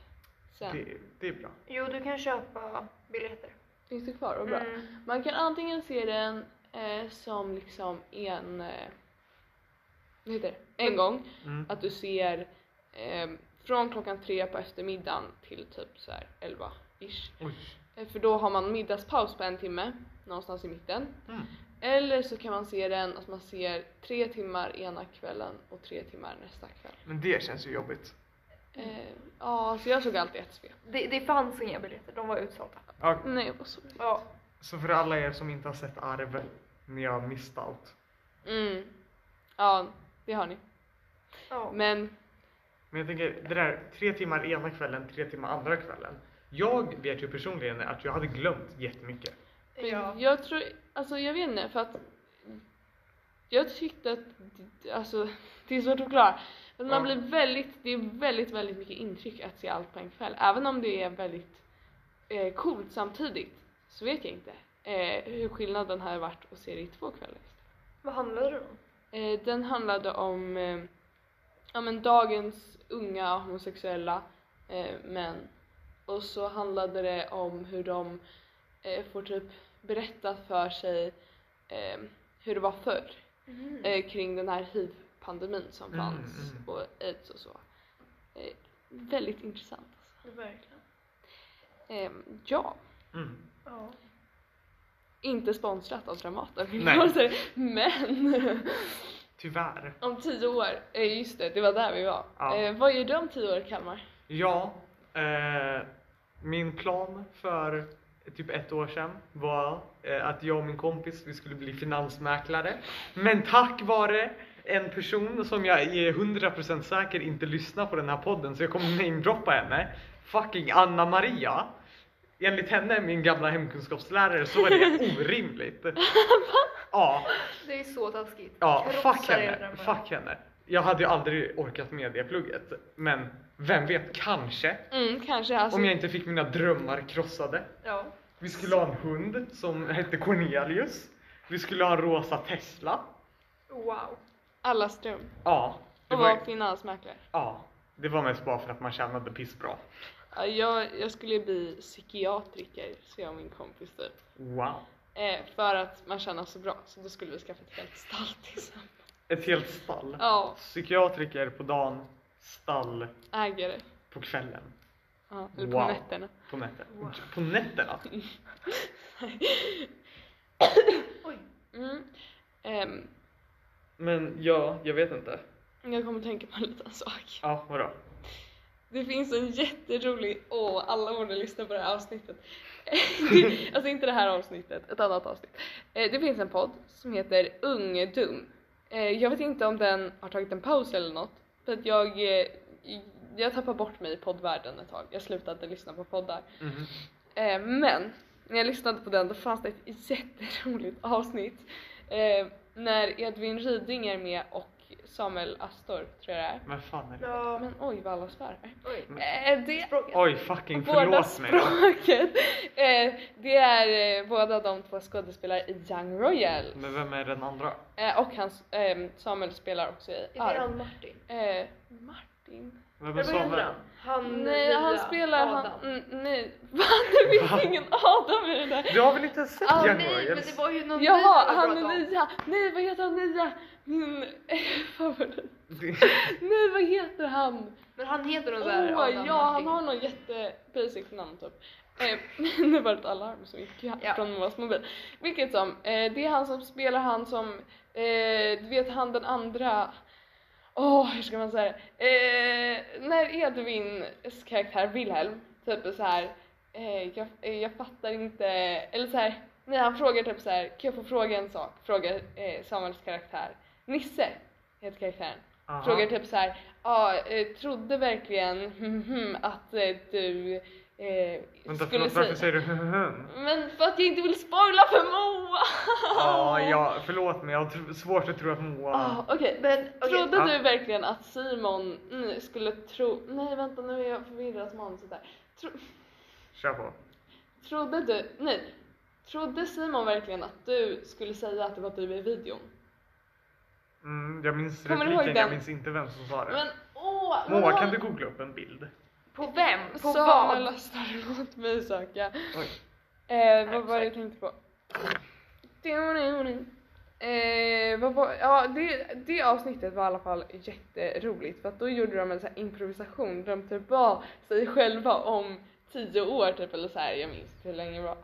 Speaker 1: Sen
Speaker 2: det, det är bra.
Speaker 3: Jo, du kan köpa biljetter.
Speaker 1: finns det kvar och bra.
Speaker 3: Mm.
Speaker 1: Man kan antingen se den eh, som liksom en... Eh, vad heter det? En gång.
Speaker 2: Mm.
Speaker 1: Att du ser eh, från klockan tre på eftermiddagen till typ så här 11-ish.
Speaker 2: Oj.
Speaker 1: Eh, För då har man middagspaus på en timme, någonstans i mitten.
Speaker 2: Mm.
Speaker 1: Eller så kan man se den att man ser tre timmar ena kvällen och tre timmar nästa kväll.
Speaker 2: Men det känns ju jobbigt.
Speaker 1: Eh, ja, så jag såg alltid ett svep.
Speaker 3: Det, det fanns inga biljetter, de var utsålda.
Speaker 2: Ja,
Speaker 1: Nej, jag var så rädd.
Speaker 3: Ja.
Speaker 2: så för alla er som inte har sett Arv, ni har missed out.
Speaker 1: Mm. Ja, det har ni.
Speaker 3: ja.
Speaker 1: Men
Speaker 2: Men jag tänker, det där tre timmar ena kvällen, tre timmar andra kvällen. Jag vet ju personligen att jag hade glömt jättemycket.
Speaker 1: men
Speaker 3: ja.
Speaker 1: jag tror, alltså jag vet inte för att jag tyckte att, alltså det är svårt att förklara. Men man
Speaker 2: Ja.
Speaker 1: blir väldigt, det är väldigt, väldigt mycket intryck att se allt på en kväll. Även om det är väldigt eh, coolt samtidigt så vet jag inte eh, hur skillnaden har varit att se det i två kvällar.
Speaker 3: Vad handlade det om?
Speaker 1: Eh, den handlade om eh, ja, men dagens unga homosexuella eh, män. Och så handlade det om hur de eh, får typ berätta för sig eh, hur det var förr
Speaker 3: Mm.
Speaker 1: eh, kring den här hiv-pandemin som
Speaker 2: Mm,
Speaker 1: fanns
Speaker 2: mm.
Speaker 1: och aids och så. Eh, väldigt intressant. alltså.
Speaker 3: Verkligen.
Speaker 1: Eh, ja,
Speaker 2: Mm.
Speaker 3: Ja.
Speaker 1: inte sponsrat av Dramaten vill
Speaker 2: Nej.
Speaker 1: jag säga. men
Speaker 2: Tyvärr.
Speaker 1: Om tio år, eh, just det, det var där vi var.
Speaker 2: Ja.
Speaker 1: Eh, vad gör du om tio år Kalmar?
Speaker 2: Ja, eh, min plan för typ ett år sedan var eh, att jag och min kompis vi skulle bli finansmäklare. Men tack vare en person som jag är 100% säker inte lyssnar på den här podden så jag kommer namedroppa henne. Fucking Anna Maria. Enligt henne, min gamla hemkunskapslärare, så är det orimligt. Ja,
Speaker 3: Det är så taskigt.
Speaker 2: Ja,
Speaker 3: Krossar
Speaker 2: fuck
Speaker 3: era
Speaker 2: henne.
Speaker 3: drömmar.
Speaker 2: Fuck henne. Jag hade ju aldrig orkat med det plugget. Men vem vet, kanske.
Speaker 1: Mm, kanske alltså,
Speaker 2: Om jag inte fick mina drömmar krossade.
Speaker 3: Ja.
Speaker 2: Vi skulle ha en hund som hette Cornelius. Vi skulle ha en rosa Tesla.
Speaker 3: Wow.
Speaker 1: allas dröm.
Speaker 2: Ja, Det
Speaker 1: Och
Speaker 2: var,
Speaker 1: var finansmäklare.
Speaker 2: ja, det var mest bara för att man tjänade pissbra.
Speaker 1: Ja, jag, jag skulle ju bli psykiatriker, så jag och min kompis typ.
Speaker 2: Wow.
Speaker 1: Eh, för att man tjänar så bra, så då skulle vi skaffa ett helt stall tillsammans.
Speaker 2: Ett helt stall.
Speaker 1: Ja,
Speaker 2: Psykiatriker på dagen, stall
Speaker 1: ägare.
Speaker 2: på kvällen,
Speaker 1: Ja, eller på
Speaker 2: Wow.
Speaker 1: nätterna.
Speaker 2: på nätterna.
Speaker 3: Wow.
Speaker 2: På nätterna?
Speaker 3: Oj.
Speaker 1: Mm. Ehm,
Speaker 2: Men ja, jag vet inte.
Speaker 1: jag kommer tänka på en liten sak.
Speaker 2: Ja, vadå?
Speaker 1: Det finns en jätterolig, åh alla borde lyssna på det här avsnittet. Det- alltså inte det här avsnittet, ett annat avsnitt. Eh, det finns en podd som heter Ung Dum. Eh, jag vet inte om den har tagit en paus eller något. För att jag, eh, i- jag tappade bort mig i poddvärlden ett tag. Jag slutade lyssna på poddar.
Speaker 2: Mhm.
Speaker 1: Eh, men när jag lyssnade på den då fanns det ett jätteroligt avsnitt eh, när Edvin Ryding är med och Samuel Astor tror jag det är.
Speaker 2: Vad fan är det?
Speaker 3: Ja.
Speaker 1: Men oj vad alla svär.
Speaker 3: Oj.
Speaker 1: Eh, det
Speaker 3: Språket.
Speaker 2: Oj, fucking
Speaker 1: Båda
Speaker 2: förlåt mig.
Speaker 1: språket. Eh, det är eh, båda de två skådespelare i Young Royals.
Speaker 2: Men vem är den andra?
Speaker 1: Eh, och hans, ehm, Samuel spelar också i
Speaker 3: Är det
Speaker 1: Arv.
Speaker 3: han Martin?
Speaker 1: Eh, Martin?
Speaker 2: Vem är
Speaker 3: Eller vad heter
Speaker 2: Samuel?
Speaker 3: han? Han
Speaker 1: Nej, han
Speaker 3: nya
Speaker 1: spelar
Speaker 3: Adam.
Speaker 1: han... Mm, nej, va? Det finns ingen Adam i det där.
Speaker 2: Du har väl inte sett
Speaker 1: Ah,
Speaker 2: Young
Speaker 3: Nej, men det
Speaker 2: Royals?
Speaker 3: var ju någon
Speaker 1: Jaha,
Speaker 3: ny
Speaker 1: han
Speaker 3: Adam.
Speaker 1: är nya! Nej vad heter han nya? Min favorit.
Speaker 2: Det-
Speaker 1: Nej vad heter han?
Speaker 3: Men han heter nog
Speaker 1: Åh ja,
Speaker 3: såhär
Speaker 1: Oh han har någon jätte basic namn typ. Eh, nu var det ett alarm som gick
Speaker 3: Ja.
Speaker 1: från Moas mobil. Vilket som, eh, det är han som spelar han som, eh, du vet han den andra, åh hur ska man säga det? Eh, när Edvins karaktär Wilhelm typ är såhär, eh, jag, eh, jag fattar inte, eller såhär, när han frågar typ såhär, kan jag få fråga en sak? Frågar eh, Samuels karaktär. Nisse heter karaktären.
Speaker 2: Aha.
Speaker 1: Frågar typ så här, ja, eh, trodde verkligen mhm, att eh, du eh,
Speaker 2: Vänta,
Speaker 1: skulle
Speaker 2: förlåt, varför
Speaker 1: säga...
Speaker 2: säger du hönhön?
Speaker 1: Men för att jag inte vill spoila för Moa!
Speaker 2: Ja, ja, förlåt men jag har tr- svårt att tro att Moa...
Speaker 1: Ah, Okej,
Speaker 3: Men okej,
Speaker 1: trodde
Speaker 2: Ja.
Speaker 1: du verkligen att Simon mm, skulle tro... Nej vänta, nu är jag förvirrad som manuset där. Tro...
Speaker 2: Kör på.
Speaker 1: Trodde du... Nej. Trodde Simon verkligen att du skulle säga att det var du i videon?
Speaker 2: Mm, jag minns
Speaker 1: Kommer du ihåg
Speaker 2: repliken, jag
Speaker 1: den?
Speaker 2: minns inte vem som sa det.
Speaker 1: Men åh! vad
Speaker 2: Moa,
Speaker 1: var-
Speaker 2: kan du googla upp en bild?
Speaker 3: på vem? På
Speaker 1: Samuel
Speaker 3: vad?
Speaker 1: Astar låt mig söka.
Speaker 2: Oj.
Speaker 1: Eh, vad var det jag tänkte på? Eh, vad var, ja, det, det avsnittet var i alla fall jätteroligt för att då gjorde de en sån här improvisation där de typ var sig själva om tio år typ eller så här, jag minns inte hur länge det var.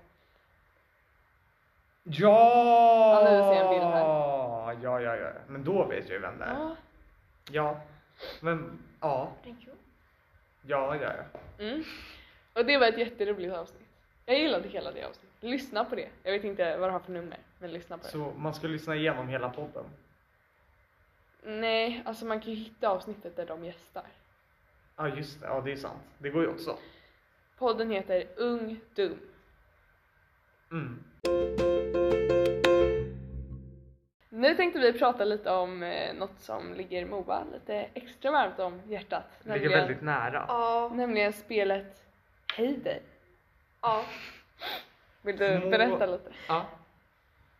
Speaker 2: Ja!
Speaker 1: Ja, nu ser jag en bild här. Ah.
Speaker 2: Ja, ja, ja. Men då vet jag ju vem det är.
Speaker 1: Ja.
Speaker 2: Ja. Men, ja. Ja, ja, ja.
Speaker 1: Mm. Och det var ett jätteroligt avsnitt. Jag gillade hela det avsnittet. Lyssna på det. Jag vet inte vad det har för nummer, men lyssna på det.
Speaker 2: Så man ska lyssna igenom hela podden.
Speaker 1: Nej, alltså man kan ju hitta avsnittet där de gästar.
Speaker 2: Ja, just det. Ja, det är sant. Det går ju också.
Speaker 1: Podden heter Ung Dum.
Speaker 2: Mm.
Speaker 1: Nu tänkte vi prata lite om eh, något som ligger Moa lite extra varmt om hjärtat.
Speaker 2: Det ligger väldigt nära.
Speaker 3: Ja,
Speaker 1: nämligen spelet Hej dig.
Speaker 3: ja.
Speaker 1: Vill du
Speaker 2: Moa.
Speaker 1: berätta lite?
Speaker 2: Ja.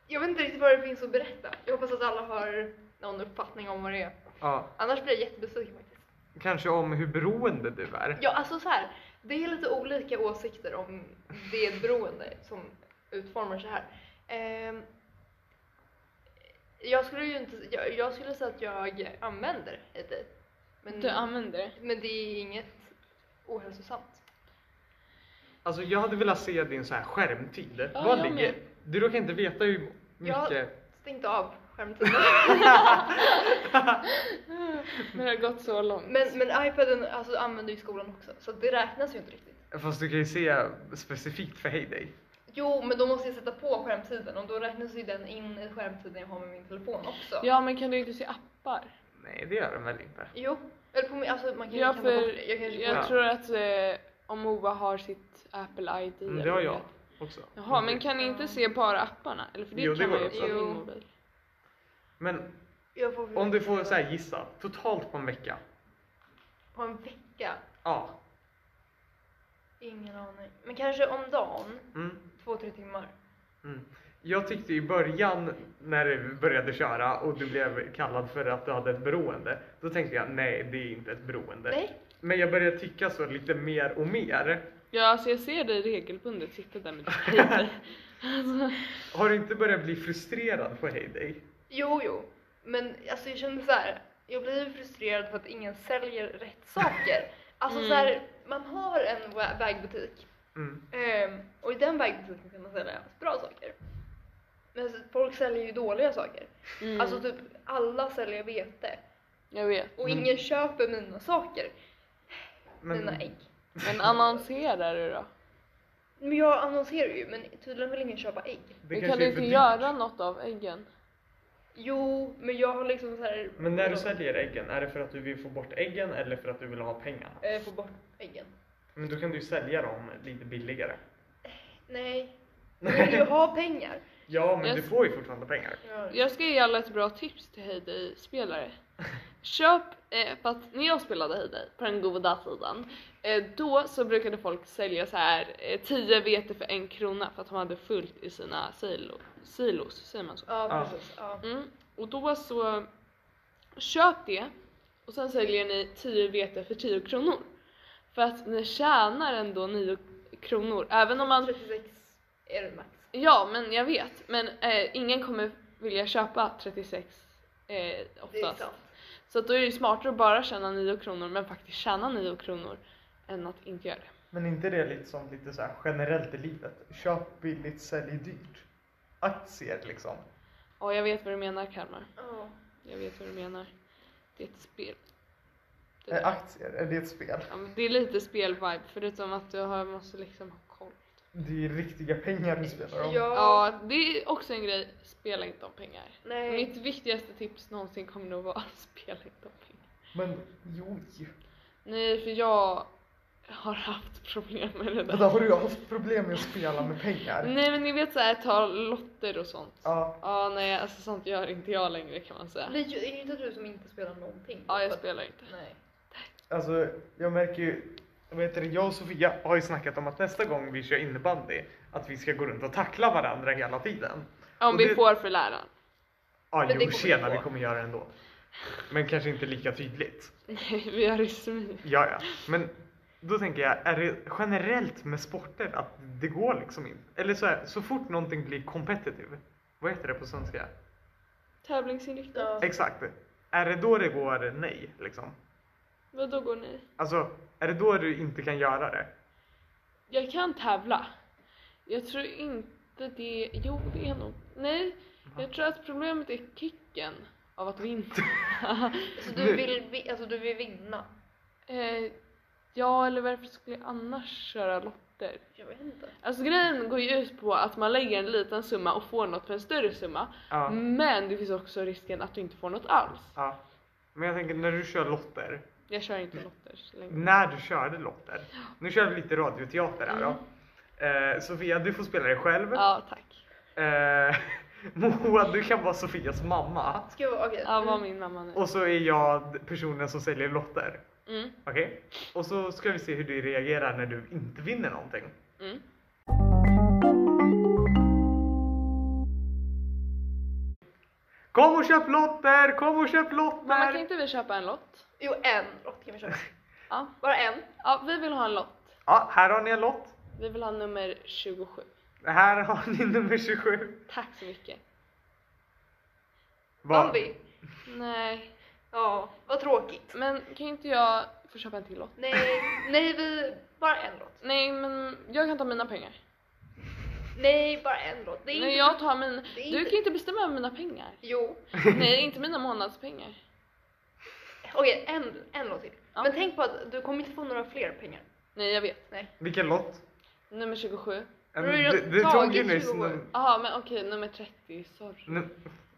Speaker 3: Jag vet inte riktigt vad det finns att berätta. Jag hoppas att alla har någon uppfattning om vad det är.
Speaker 2: ja.
Speaker 3: Annars blir jag jättebesviken faktiskt.
Speaker 2: Kanske om hur beroende du är.
Speaker 3: Ja, alltså så här. Det är lite olika åsikter om det beroende som utformar sig här. Ehm, jag skulle ju inte, jag, jag skulle säga att jag använder ett dig. Men,
Speaker 1: Du använder det.
Speaker 3: men det är inget ohälsosamt.
Speaker 2: Alltså jag hade velat se din så här skärmtid.
Speaker 1: Ja,
Speaker 2: Vad
Speaker 1: jag
Speaker 2: ligger...
Speaker 1: med.
Speaker 2: Du råkar inte veta hur
Speaker 3: Ja.
Speaker 2: mycket...
Speaker 3: Stängt av skärmtiden.
Speaker 1: Men det har gått så långt.
Speaker 3: men, men iPaden alltså, använder ju skolan också, så det räknas ju inte riktigt.
Speaker 2: Fast du kan ju se specifikt för Heyday.
Speaker 3: Jo, men då måste jag sätta på skärmtiden och då räknas ju den in i skärmtiden jag har med min telefon också.
Speaker 1: Ja men kan du inte se appar?
Speaker 2: Nej, det gör den väl inte.
Speaker 3: Jo, eller på min, alltså man kan ju
Speaker 1: Ja
Speaker 3: kan ta bort
Speaker 1: för
Speaker 3: det. Jag kanske
Speaker 1: jag
Speaker 2: Ja.
Speaker 1: tror att eh, om Moa har sitt Apple ID.
Speaker 2: Men Mm, det
Speaker 1: eller
Speaker 2: har
Speaker 1: vad
Speaker 2: jag
Speaker 1: heter.
Speaker 2: också. Mm.
Speaker 1: Jaha men kan ni inte
Speaker 3: Ja.
Speaker 1: se bara apparna? Eller för det
Speaker 2: Jo, det
Speaker 1: kan man
Speaker 2: går
Speaker 1: ju
Speaker 2: också.
Speaker 1: på min
Speaker 3: Jo.
Speaker 1: mobil.
Speaker 2: Men
Speaker 3: jag får
Speaker 2: om du får så här gissa, totalt på en vecka.
Speaker 3: På en vecka?
Speaker 2: Ja.
Speaker 3: Ingen aning. Men kanske om dagen,
Speaker 2: Mm,
Speaker 3: två, tre timmar.
Speaker 2: mm. Jag tyckte i början när du började köra och du blev kallad för att du hade ett beroende. Då tänkte jag nej, det är inte ett beroende.
Speaker 3: Nej.
Speaker 2: Men jag började tycka så lite mer och mer.
Speaker 1: Ja, alltså jag ser dig regelbundet sitta där med ditt paper. alltså,
Speaker 2: Har du inte börjat bli frustrerad på Heyday?
Speaker 3: Jo, jo. Men alltså jag kände så här. jag blir ju frustrerad för att ingen säljer rätt saker. Alltså
Speaker 1: Mm.
Speaker 3: så här, man har en wa- vägbutik
Speaker 2: Mm.
Speaker 3: ehm, och i den vägbutiken kan man sälja bra saker. Men så- folk säljer ju dåliga saker.
Speaker 1: mm,
Speaker 3: Alltså typ alla säljer vete
Speaker 1: jag vet.
Speaker 3: och
Speaker 2: Mm.
Speaker 3: ingen köper mina saker, mina ägg.
Speaker 1: Men annonserar du då?
Speaker 3: Men jag annonserar ju men tydligen vill ingen köpa ägg.
Speaker 1: Men kan
Speaker 2: kanske
Speaker 1: du
Speaker 2: är
Speaker 1: inte
Speaker 2: för dyrt.
Speaker 1: göra något av äggen?
Speaker 3: Jo, men jag har liksom så här.
Speaker 2: Men när du säljer äggen, är det för att du vill få bort äggen eller för att du vill ha pengarna?
Speaker 3: Eh, Få bort äggen.
Speaker 2: Men då kan du ju sälja dem lite billigare.
Speaker 3: Nej, jag vill ju ha pengar.
Speaker 2: Ja, men
Speaker 1: Jag
Speaker 2: du
Speaker 1: s-
Speaker 2: får ju fortfarande pengar.
Speaker 1: Jag ska ge alla ett bra tips till Heyday spelare Köp, eh, för att när jag spelade Heyday på den goda tiden, eh, då så brukade folk sälja så här eh, 10 vete för en krona för att de hade fullt i sina silo, silos, säger man så?
Speaker 3: Ja,
Speaker 2: Ja.
Speaker 3: precis. Ja.
Speaker 1: Mm. Och då så köp det och sen säljer ni 10 vete för 10 kronor. För att ni tjänar ändå 9 kronor. Även om man,
Speaker 3: 36 är det max.
Speaker 1: ja men jag vet, men eh, ingen kommer vilja köpa 36 eh,
Speaker 3: Det är
Speaker 1: oftast.
Speaker 3: sant.
Speaker 1: Så att då är det ju smartare att bara tjäna 9 kronor men faktiskt tjäna 9 kronor än att inte göra det.
Speaker 2: Men inte det lite som lite så här generellt i livet? Köp billigt, sälj dyrt. Aktier liksom.
Speaker 1: Ja, jag vet vad du menar Kalmar.
Speaker 3: Ja.
Speaker 1: Jag vet vad du menar. Det är ett spel. Det
Speaker 2: Eh,
Speaker 4: Är
Speaker 1: där.
Speaker 2: ah.
Speaker 4: aktier, är det ett spel?
Speaker 1: Ja, men det är lite spelvibe förutom att du har, måste liksom ha koll.
Speaker 4: Det är ju riktiga pengar du spelar om.
Speaker 3: Ja.
Speaker 1: Ja, det är också en grej. Spela inte om pengar.
Speaker 3: Nej.
Speaker 1: Mitt viktigaste tips någonsin kommer nog vara spela inte om pengar.
Speaker 4: Men jo,
Speaker 1: Nej, för jag har haft problem med det
Speaker 4: då
Speaker 1: där.
Speaker 4: har du ju haft problem med att spela med pengar.
Speaker 1: Nej men ni vet såhär ta lotter och sånt.
Speaker 4: Ja,
Speaker 1: Ja nej alltså sånt gör inte jag längre kan man säga.
Speaker 3: Blir ju- är det inte du som inte spelar någonting?
Speaker 1: Ja jag
Speaker 3: För att-
Speaker 1: spelar inte.
Speaker 3: Nej.
Speaker 4: alltså
Speaker 2: Jag märker ju, vad heter det, jag och Sofia har ju snackat om att nästa gång vi kör innebandy, att vi ska gå runt och tackla varandra hela tiden.
Speaker 1: Om
Speaker 2: Och
Speaker 1: vi
Speaker 2: det-
Speaker 1: får för läraren.
Speaker 2: Ja,
Speaker 3: Men det
Speaker 2: jo
Speaker 3: kommer
Speaker 2: tjena,
Speaker 3: vi
Speaker 2: vi
Speaker 3: få.
Speaker 2: kommer göra det ändå. Men kanske inte lika tydligt.
Speaker 1: Nej vi har resumé.
Speaker 2: Ja, ja. Men då tänker jag, är det generellt med sporter att det går liksom inte? Eller så här, så fort någonting blir competitive, vad heter det på svenska?
Speaker 1: Tävlingsinriktat.
Speaker 3: Ja.
Speaker 2: Exakt. Är det då det går nej, liksom?
Speaker 1: Vadå går ni?
Speaker 2: Alltså, är det då du inte kan göra det?
Speaker 1: Jag kan tävla. Jag tror inte det... Jo, det är nog... Nej, jag tror att problemet är kicken av att vinna.
Speaker 3: Så
Speaker 2: Nu-
Speaker 3: du vill, vi- alltså, du vill vinna?
Speaker 1: eh, ja, eller varför skulle jag annars köra lotter?
Speaker 3: Jag vet inte.
Speaker 1: Alltså grejen går ju ut på att man lägger en liten summa och får något för en större summa.
Speaker 2: Ja.
Speaker 1: Men det finns också risken att du inte får något alls.
Speaker 2: ja. Men jag tänker, när du kör lotter,
Speaker 1: Jag kör inte lotter längre.
Speaker 2: när du körde lotter, nu kör vi lite radioteater här då. Eh, Sofia, du får spela dig själv.
Speaker 1: Ja, tack.
Speaker 2: Eh, Moa, du kan vara Sofias mamma.
Speaker 3: Ska jag okej.
Speaker 1: Ja, var min mamma nu.
Speaker 2: Och så är jag personen som säljer lotter.
Speaker 1: Mm,
Speaker 2: Okej? Och så ska vi se hur du reagerar när du inte vinner någonting.
Speaker 1: mm.
Speaker 2: Kom och köp lotter! Kom och köp
Speaker 1: Mamma, kan
Speaker 2: lotter!
Speaker 1: inte vi köpa en lott?
Speaker 3: Jo, en lott kan vi köra.
Speaker 1: Ja.
Speaker 3: Bara en?
Speaker 1: ja, vi vill ha en lott.
Speaker 2: Ja, här har ni en lott.
Speaker 1: Vi vill ha nummer 27.
Speaker 2: Här har ni nummer 27.
Speaker 1: Tack så mycket.
Speaker 2: Va?
Speaker 3: Bambi?
Speaker 1: Nej,
Speaker 3: Ja, vad tråkigt.
Speaker 1: men kan inte jag få köpa en till lott?
Speaker 3: Nej, nej vi... Bara en lott.
Speaker 1: Nej, men jag kan ta mina pengar.
Speaker 3: Nej, bara en lott. Det är
Speaker 1: Nej,
Speaker 3: inte...
Speaker 1: jag tar min...
Speaker 3: det är
Speaker 1: Du
Speaker 3: inte-
Speaker 1: kan inte bestämma över mina pengar.
Speaker 3: Jo.
Speaker 1: Nej, inte mina månadspengar.
Speaker 3: Okej, en, en lott till.
Speaker 1: Ja.
Speaker 3: Men tänk på att du kommer inte få några fler pengar.
Speaker 1: Nej, jag vet.
Speaker 2: Vilken lott?
Speaker 1: Nummer 27.
Speaker 2: Ja,
Speaker 3: Men
Speaker 2: men
Speaker 3: du
Speaker 2: Du, du
Speaker 3: har
Speaker 2: tog ju
Speaker 3: tagit
Speaker 2: nyss
Speaker 3: 20 år.
Speaker 2: num-
Speaker 1: Jaha, men okej, nummer 30. Sorry.
Speaker 2: num-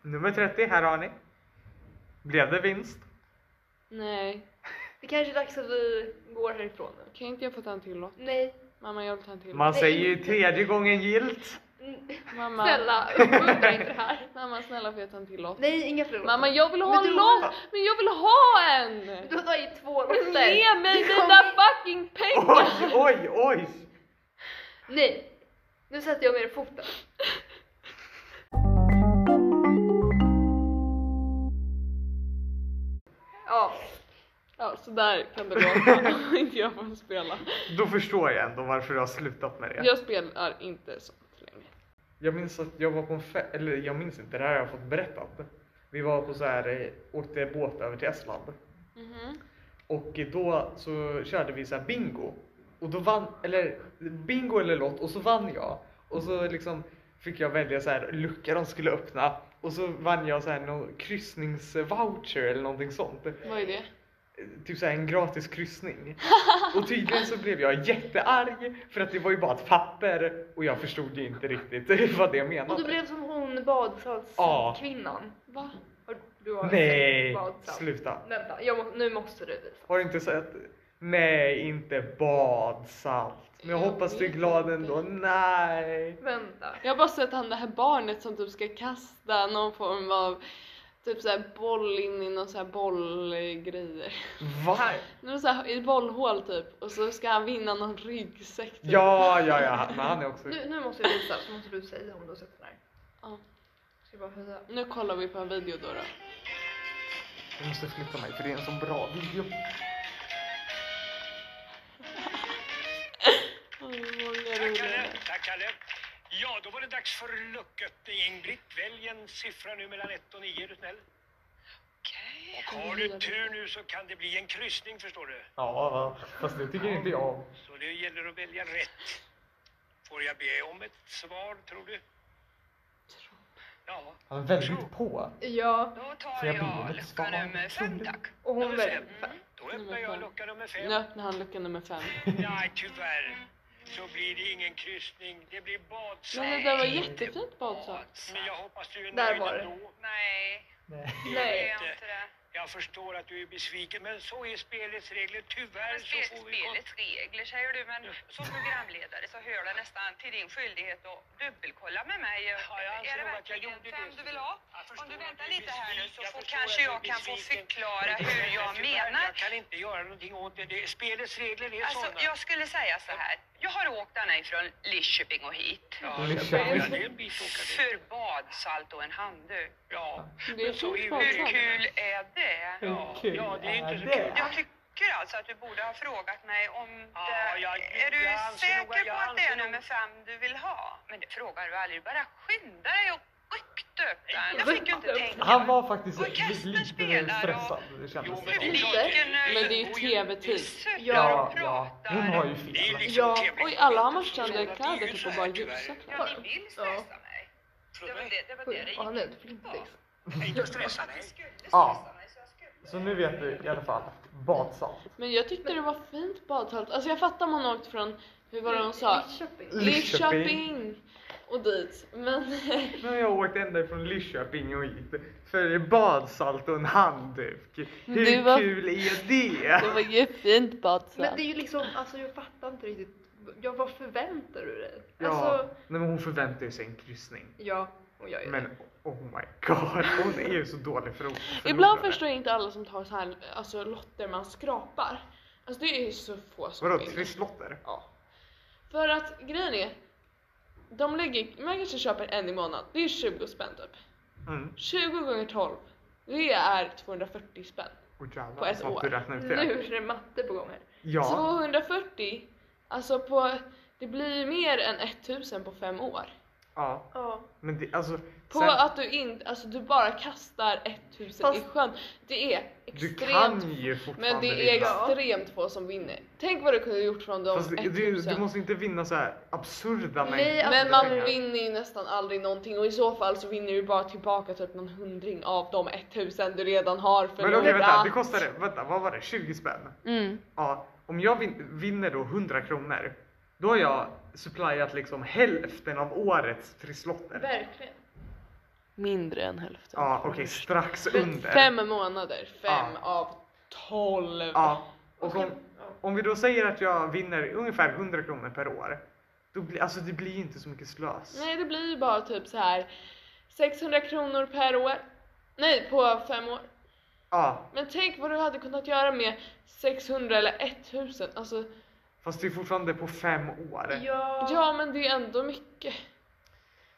Speaker 2: nummer 30. Här har ni. Blev det vinst?
Speaker 1: Nej,
Speaker 3: Det kanske är dags att vi går härifrån nu.
Speaker 1: kan inte jag få ta en till lott?
Speaker 3: Nej.
Speaker 1: Mamma, jag vill ta en till
Speaker 2: Man
Speaker 1: lott.
Speaker 3: Nej.
Speaker 2: säger ju tredje gången gilt.
Speaker 3: N-
Speaker 1: Mamma,
Speaker 3: Snälla, uppmuntra inte det här.
Speaker 1: mamma snälla får jag ta en till lott?
Speaker 3: Nej, inga fler
Speaker 1: Mamma, jag vill ha
Speaker 3: Men
Speaker 1: en
Speaker 3: du-
Speaker 1: lott! Men jag vill ha en!
Speaker 3: Du har tagit två
Speaker 1: Men
Speaker 3: lotter.
Speaker 1: Ge mig
Speaker 3: Du
Speaker 1: mina
Speaker 3: kommer-
Speaker 1: fucking pengar!
Speaker 2: Oj, oj, oj!
Speaker 3: Nej! Nu sätter jag ner foten. Ja,
Speaker 1: Ja, så där kan det gå om inte jag får spela.
Speaker 2: Då förstår jag ändå varför du har slutat med det.
Speaker 1: Jag spelar inte sånt längre.
Speaker 2: Jag minns att jag var på en fest, eller jag minns inte, det här har jag fått berättat. Vi var på så här, eh, åkte båt över till Estland.
Speaker 3: Mhm.
Speaker 2: Och då så körde vi så här bingo. Och då vann, eller bingo eller lott och så vann jag. Och så liksom fick jag välja så här luckor de skulle öppna. Och så vann jag så här någon kryssningsvoucher eller någonting sånt.
Speaker 1: Vad är det?
Speaker 2: Typ såhär en gratis kryssning. Och tydligen så blev jag jättearg för att det var ju bara ett papper och jag förstod ju inte riktigt vad det menade.
Speaker 3: och du blev som hon badsalskvinnan.
Speaker 2: Ja.
Speaker 3: kvinnan.
Speaker 1: Va?
Speaker 3: Har- Du har
Speaker 2: Nej,
Speaker 3: sett badsalt.
Speaker 2: sluta.
Speaker 3: Vänta, jag må, nu måste du visa.
Speaker 2: Har du inte sett? Nej, inte badsalt. Men jag
Speaker 1: Jag
Speaker 2: hoppas du är
Speaker 1: vet
Speaker 2: glad
Speaker 1: inte.
Speaker 2: ändå. Nej.
Speaker 3: Vänta.
Speaker 1: Jag har bara sett han det här barnet som typ ska kasta någon form av typ såhär boll in i någon såhär bollgrejer.
Speaker 2: Va?
Speaker 3: Här.
Speaker 1: Nu är det så här, I bollhål typ och så ska han vinna någon ryggsäck typ.
Speaker 2: Ja, ja, ja. Men han är också...
Speaker 3: Nu, nu måste jag visa så måste du säga om du har sett den här.
Speaker 1: Ja.
Speaker 3: Ska jag bara höja.
Speaker 1: Nu kollar vi på en video då. då.
Speaker 2: Jag måste flytta mig för det är en så bra video.
Speaker 1: Oj, många roliga
Speaker 5: Kalle,
Speaker 1: där.
Speaker 5: tack Kalle. Ja, då var det dags för lucköppning. Ingrid, välj en siffra nu mellan 1 och 9 är du snäll. Och har du tur nu så kan det bli en kryssning förstår du.
Speaker 2: Ja, va. fast det tycker inte jag om.
Speaker 5: Så det gäller att välja rätt. Får jag be om ett svar tror du? Ja,
Speaker 2: Han är väldigt på.
Speaker 3: Ja,
Speaker 6: Då
Speaker 2: Så
Speaker 6: tar
Speaker 2: jag
Speaker 6: jag,
Speaker 2: blir lite
Speaker 6: lucka
Speaker 2: sval.
Speaker 6: nummer fem tack.
Speaker 3: och hon
Speaker 5: Nummer
Speaker 3: väl.
Speaker 2: Mm.
Speaker 5: fem. då öppnar jag lucka nummer
Speaker 1: Nu
Speaker 5: fem.
Speaker 1: öppnar han lucka nummer fem.
Speaker 5: Nej, tyvärr. Så blir det ingen kryssning. Det blir
Speaker 1: Men det
Speaker 5: badsalt.
Speaker 1: där var jättefint badsak.
Speaker 5: Men jag hoppas du är
Speaker 3: Där
Speaker 5: nöjd
Speaker 3: var det.
Speaker 5: ändå.
Speaker 6: Nej,
Speaker 4: Nej.
Speaker 6: det är
Speaker 3: Nej.
Speaker 6: jag inte det.
Speaker 5: Jag förstår att du är besviken, men så är spelets regler. Tyvärr
Speaker 6: Men
Speaker 5: så
Speaker 6: spel,
Speaker 5: får vi...
Speaker 6: spelets regler säger du, men som programledare så hör det nästan till din skyldighet att dubbelkolla med mig.
Speaker 5: Ja, jag anser
Speaker 6: är det
Speaker 5: nog att jag
Speaker 6: verkligen
Speaker 5: gjorde
Speaker 6: fem
Speaker 5: det.
Speaker 6: du vill ha?
Speaker 5: Jag förstår
Speaker 6: Om du
Speaker 5: att
Speaker 6: väntar
Speaker 5: du är
Speaker 6: lite här nu
Speaker 5: besviken.
Speaker 6: så
Speaker 5: Jag
Speaker 6: får
Speaker 5: förstår
Speaker 6: kanske
Speaker 5: att du är
Speaker 6: jag kan få
Speaker 5: besviken.
Speaker 6: förklara
Speaker 5: Men
Speaker 6: hur jag
Speaker 5: tyvärr,
Speaker 6: menar.
Speaker 5: Jag kan inte göra någonting åt det. det spelets regler är
Speaker 6: Alltså,
Speaker 5: sådana.
Speaker 6: jag skulle säga så här. Jag har åkt ända ifrån Lidköping och hit.
Speaker 5: Ja,
Speaker 2: Lycka
Speaker 5: jag börjar.
Speaker 2: till.
Speaker 5: det är en bit åka dit.
Speaker 6: För badsalt och en handduk.
Speaker 5: Ja.
Speaker 1: Det är
Speaker 5: Men så
Speaker 1: fint
Speaker 5: är det.
Speaker 6: Hur
Speaker 1: badsak.
Speaker 6: kul är det?
Speaker 5: Ja,
Speaker 4: Hur kul
Speaker 5: ja, det är inte så
Speaker 4: är
Speaker 5: kul.
Speaker 4: det?
Speaker 6: Jag tycker alltså att du borde ha frågat mig om
Speaker 5: Ja,
Speaker 6: det.
Speaker 5: jag-
Speaker 6: är du
Speaker 5: jag anser nog-
Speaker 6: säker på
Speaker 5: jag
Speaker 6: att det
Speaker 5: anser
Speaker 6: är
Speaker 5: nog-
Speaker 6: nummer fem du vill ha? Men det frågar du aldrig. Bara skynda dig och ryckte upp den. Jag
Speaker 1: Ryck
Speaker 6: fick ju inte
Speaker 1: upp.
Speaker 6: tänka.
Speaker 4: Han var faktiskt
Speaker 6: Och Kasper
Speaker 4: lite
Speaker 6: spelar och-
Speaker 4: stressad. Det kändes
Speaker 5: men det är
Speaker 4: som.
Speaker 6: Lite.
Speaker 5: klart det-
Speaker 1: Men det är ju tv-tid.
Speaker 6: Suckar
Speaker 4: Ja,
Speaker 6: och
Speaker 4: ja.
Speaker 6: pratar.
Speaker 4: Hon har ju
Speaker 5: Det är
Speaker 4: fel.
Speaker 5: liksom
Speaker 3: Ja,
Speaker 5: tv.
Speaker 1: Oj, alla har
Speaker 5: Det är
Speaker 1: matchande
Speaker 5: ju
Speaker 1: kläder
Speaker 5: så
Speaker 1: typ och
Speaker 5: här,
Speaker 1: bara
Speaker 5: tyvärr.
Speaker 1: ljusa
Speaker 6: Ja,
Speaker 1: kläder.
Speaker 6: ni vill stressa mig. Det var det det, var det, det
Speaker 3: Ja, han
Speaker 6: gick
Speaker 3: är
Speaker 6: ut
Speaker 3: ett flintis.
Speaker 5: Nej, Inte stressa
Speaker 6: på.
Speaker 5: dig.
Speaker 6: Ni skulle
Speaker 4: Ja.
Speaker 6: stressa mig så jag skulle.
Speaker 4: Så nu vet du i alla fall. Badsalt.
Speaker 1: Men jag tyckte det var fint badhalt. Alltså jag fattar om hon åkt från, hur var det hon sa?
Speaker 3: Lidköping.
Speaker 4: Lidköping.
Speaker 1: Lidköping och dit. Men
Speaker 2: Nu har jag åkt ända ifrån Lidköping och hit för badsalt och en handduk. Hur
Speaker 1: Det var- Alltså-
Speaker 2: kul är det?
Speaker 1: det var ju fint
Speaker 3: Men
Speaker 1: badsak.
Speaker 3: det är ju liksom, alltså jag fattar inte riktigt. Ja, vad förväntar du dig?
Speaker 2: Ja,
Speaker 3: Alltså,
Speaker 2: nej, men hon förväntar sig en kryssning.
Speaker 3: ja, och jag gör det.
Speaker 2: Men oh my god, hon är ju så dålig för förlorare.
Speaker 1: Ibland förstår jag inte alla som tar så här, alltså lotter man skrapar. Alltså det är ju så få som
Speaker 2: Vadå
Speaker 1: vinner.
Speaker 2: trisslotter?
Speaker 1: Ja. För att grejen är, de lägger, man kanske köper en i månaden, det är 20 spänn typ.
Speaker 2: Mm.
Speaker 1: 20 gånger 12, det är 240 spänn.
Speaker 2: Och jävlar
Speaker 1: På ett
Speaker 2: vad
Speaker 1: år.
Speaker 2: du räknar ut det.
Speaker 3: Nu är det matte på gång här.
Speaker 2: Ja,
Speaker 1: 240, alltså på, det blir ju mer än 1000 på fem år.
Speaker 2: ja.
Speaker 3: Ja.
Speaker 2: Men det, alltså,
Speaker 1: På
Speaker 2: sen,
Speaker 1: att du inte, alltså du bara kastar 1000 i
Speaker 3: Fast-
Speaker 1: sjön. Det är
Speaker 2: du
Speaker 1: extremt
Speaker 2: kan ju fortfarande
Speaker 1: Men det är
Speaker 2: vinna.
Speaker 3: Ja.
Speaker 1: extremt få som vinner. Tänk vad du kunde gjort från de
Speaker 2: Fast det- du,
Speaker 1: 1000.
Speaker 2: du måste inte vinna så här absurda
Speaker 3: Nej,
Speaker 2: mängder
Speaker 1: Men
Speaker 3: alltså,
Speaker 1: man
Speaker 2: pengar.
Speaker 1: vinner ju nästan aldrig någonting och i så fall så vinner du bara tillbaka typ någon hundring av de 1000 du redan har förlorat.
Speaker 2: Men okej vänta, det kostade, vänta vad var det, 20 spänn?
Speaker 1: Mm.
Speaker 2: Ja, om jag vin, vinner då 100 kronor, då har jag supplyat liksom hälften av årets trisslotter.
Speaker 3: Verkligen.
Speaker 1: Mindre än hälften.
Speaker 2: Ja okej, strax under.
Speaker 1: Fem månader, fem
Speaker 2: Ja.
Speaker 1: av 12.
Speaker 2: Ja, och om, om vi då säger att jag vinner ungefär 100 kronor per år, då blir, alltså det blir ju inte så mycket slös.
Speaker 1: Nej det blir ju bara typ så här 600 kronor per år. Nej på fem år.
Speaker 2: Ja,
Speaker 1: Men tänk vad du hade kunnat göra med 600 eller 1000. Alltså
Speaker 2: fast det är fortfarande på fem år.
Speaker 3: Ja.
Speaker 1: ja men det är ändå mycket.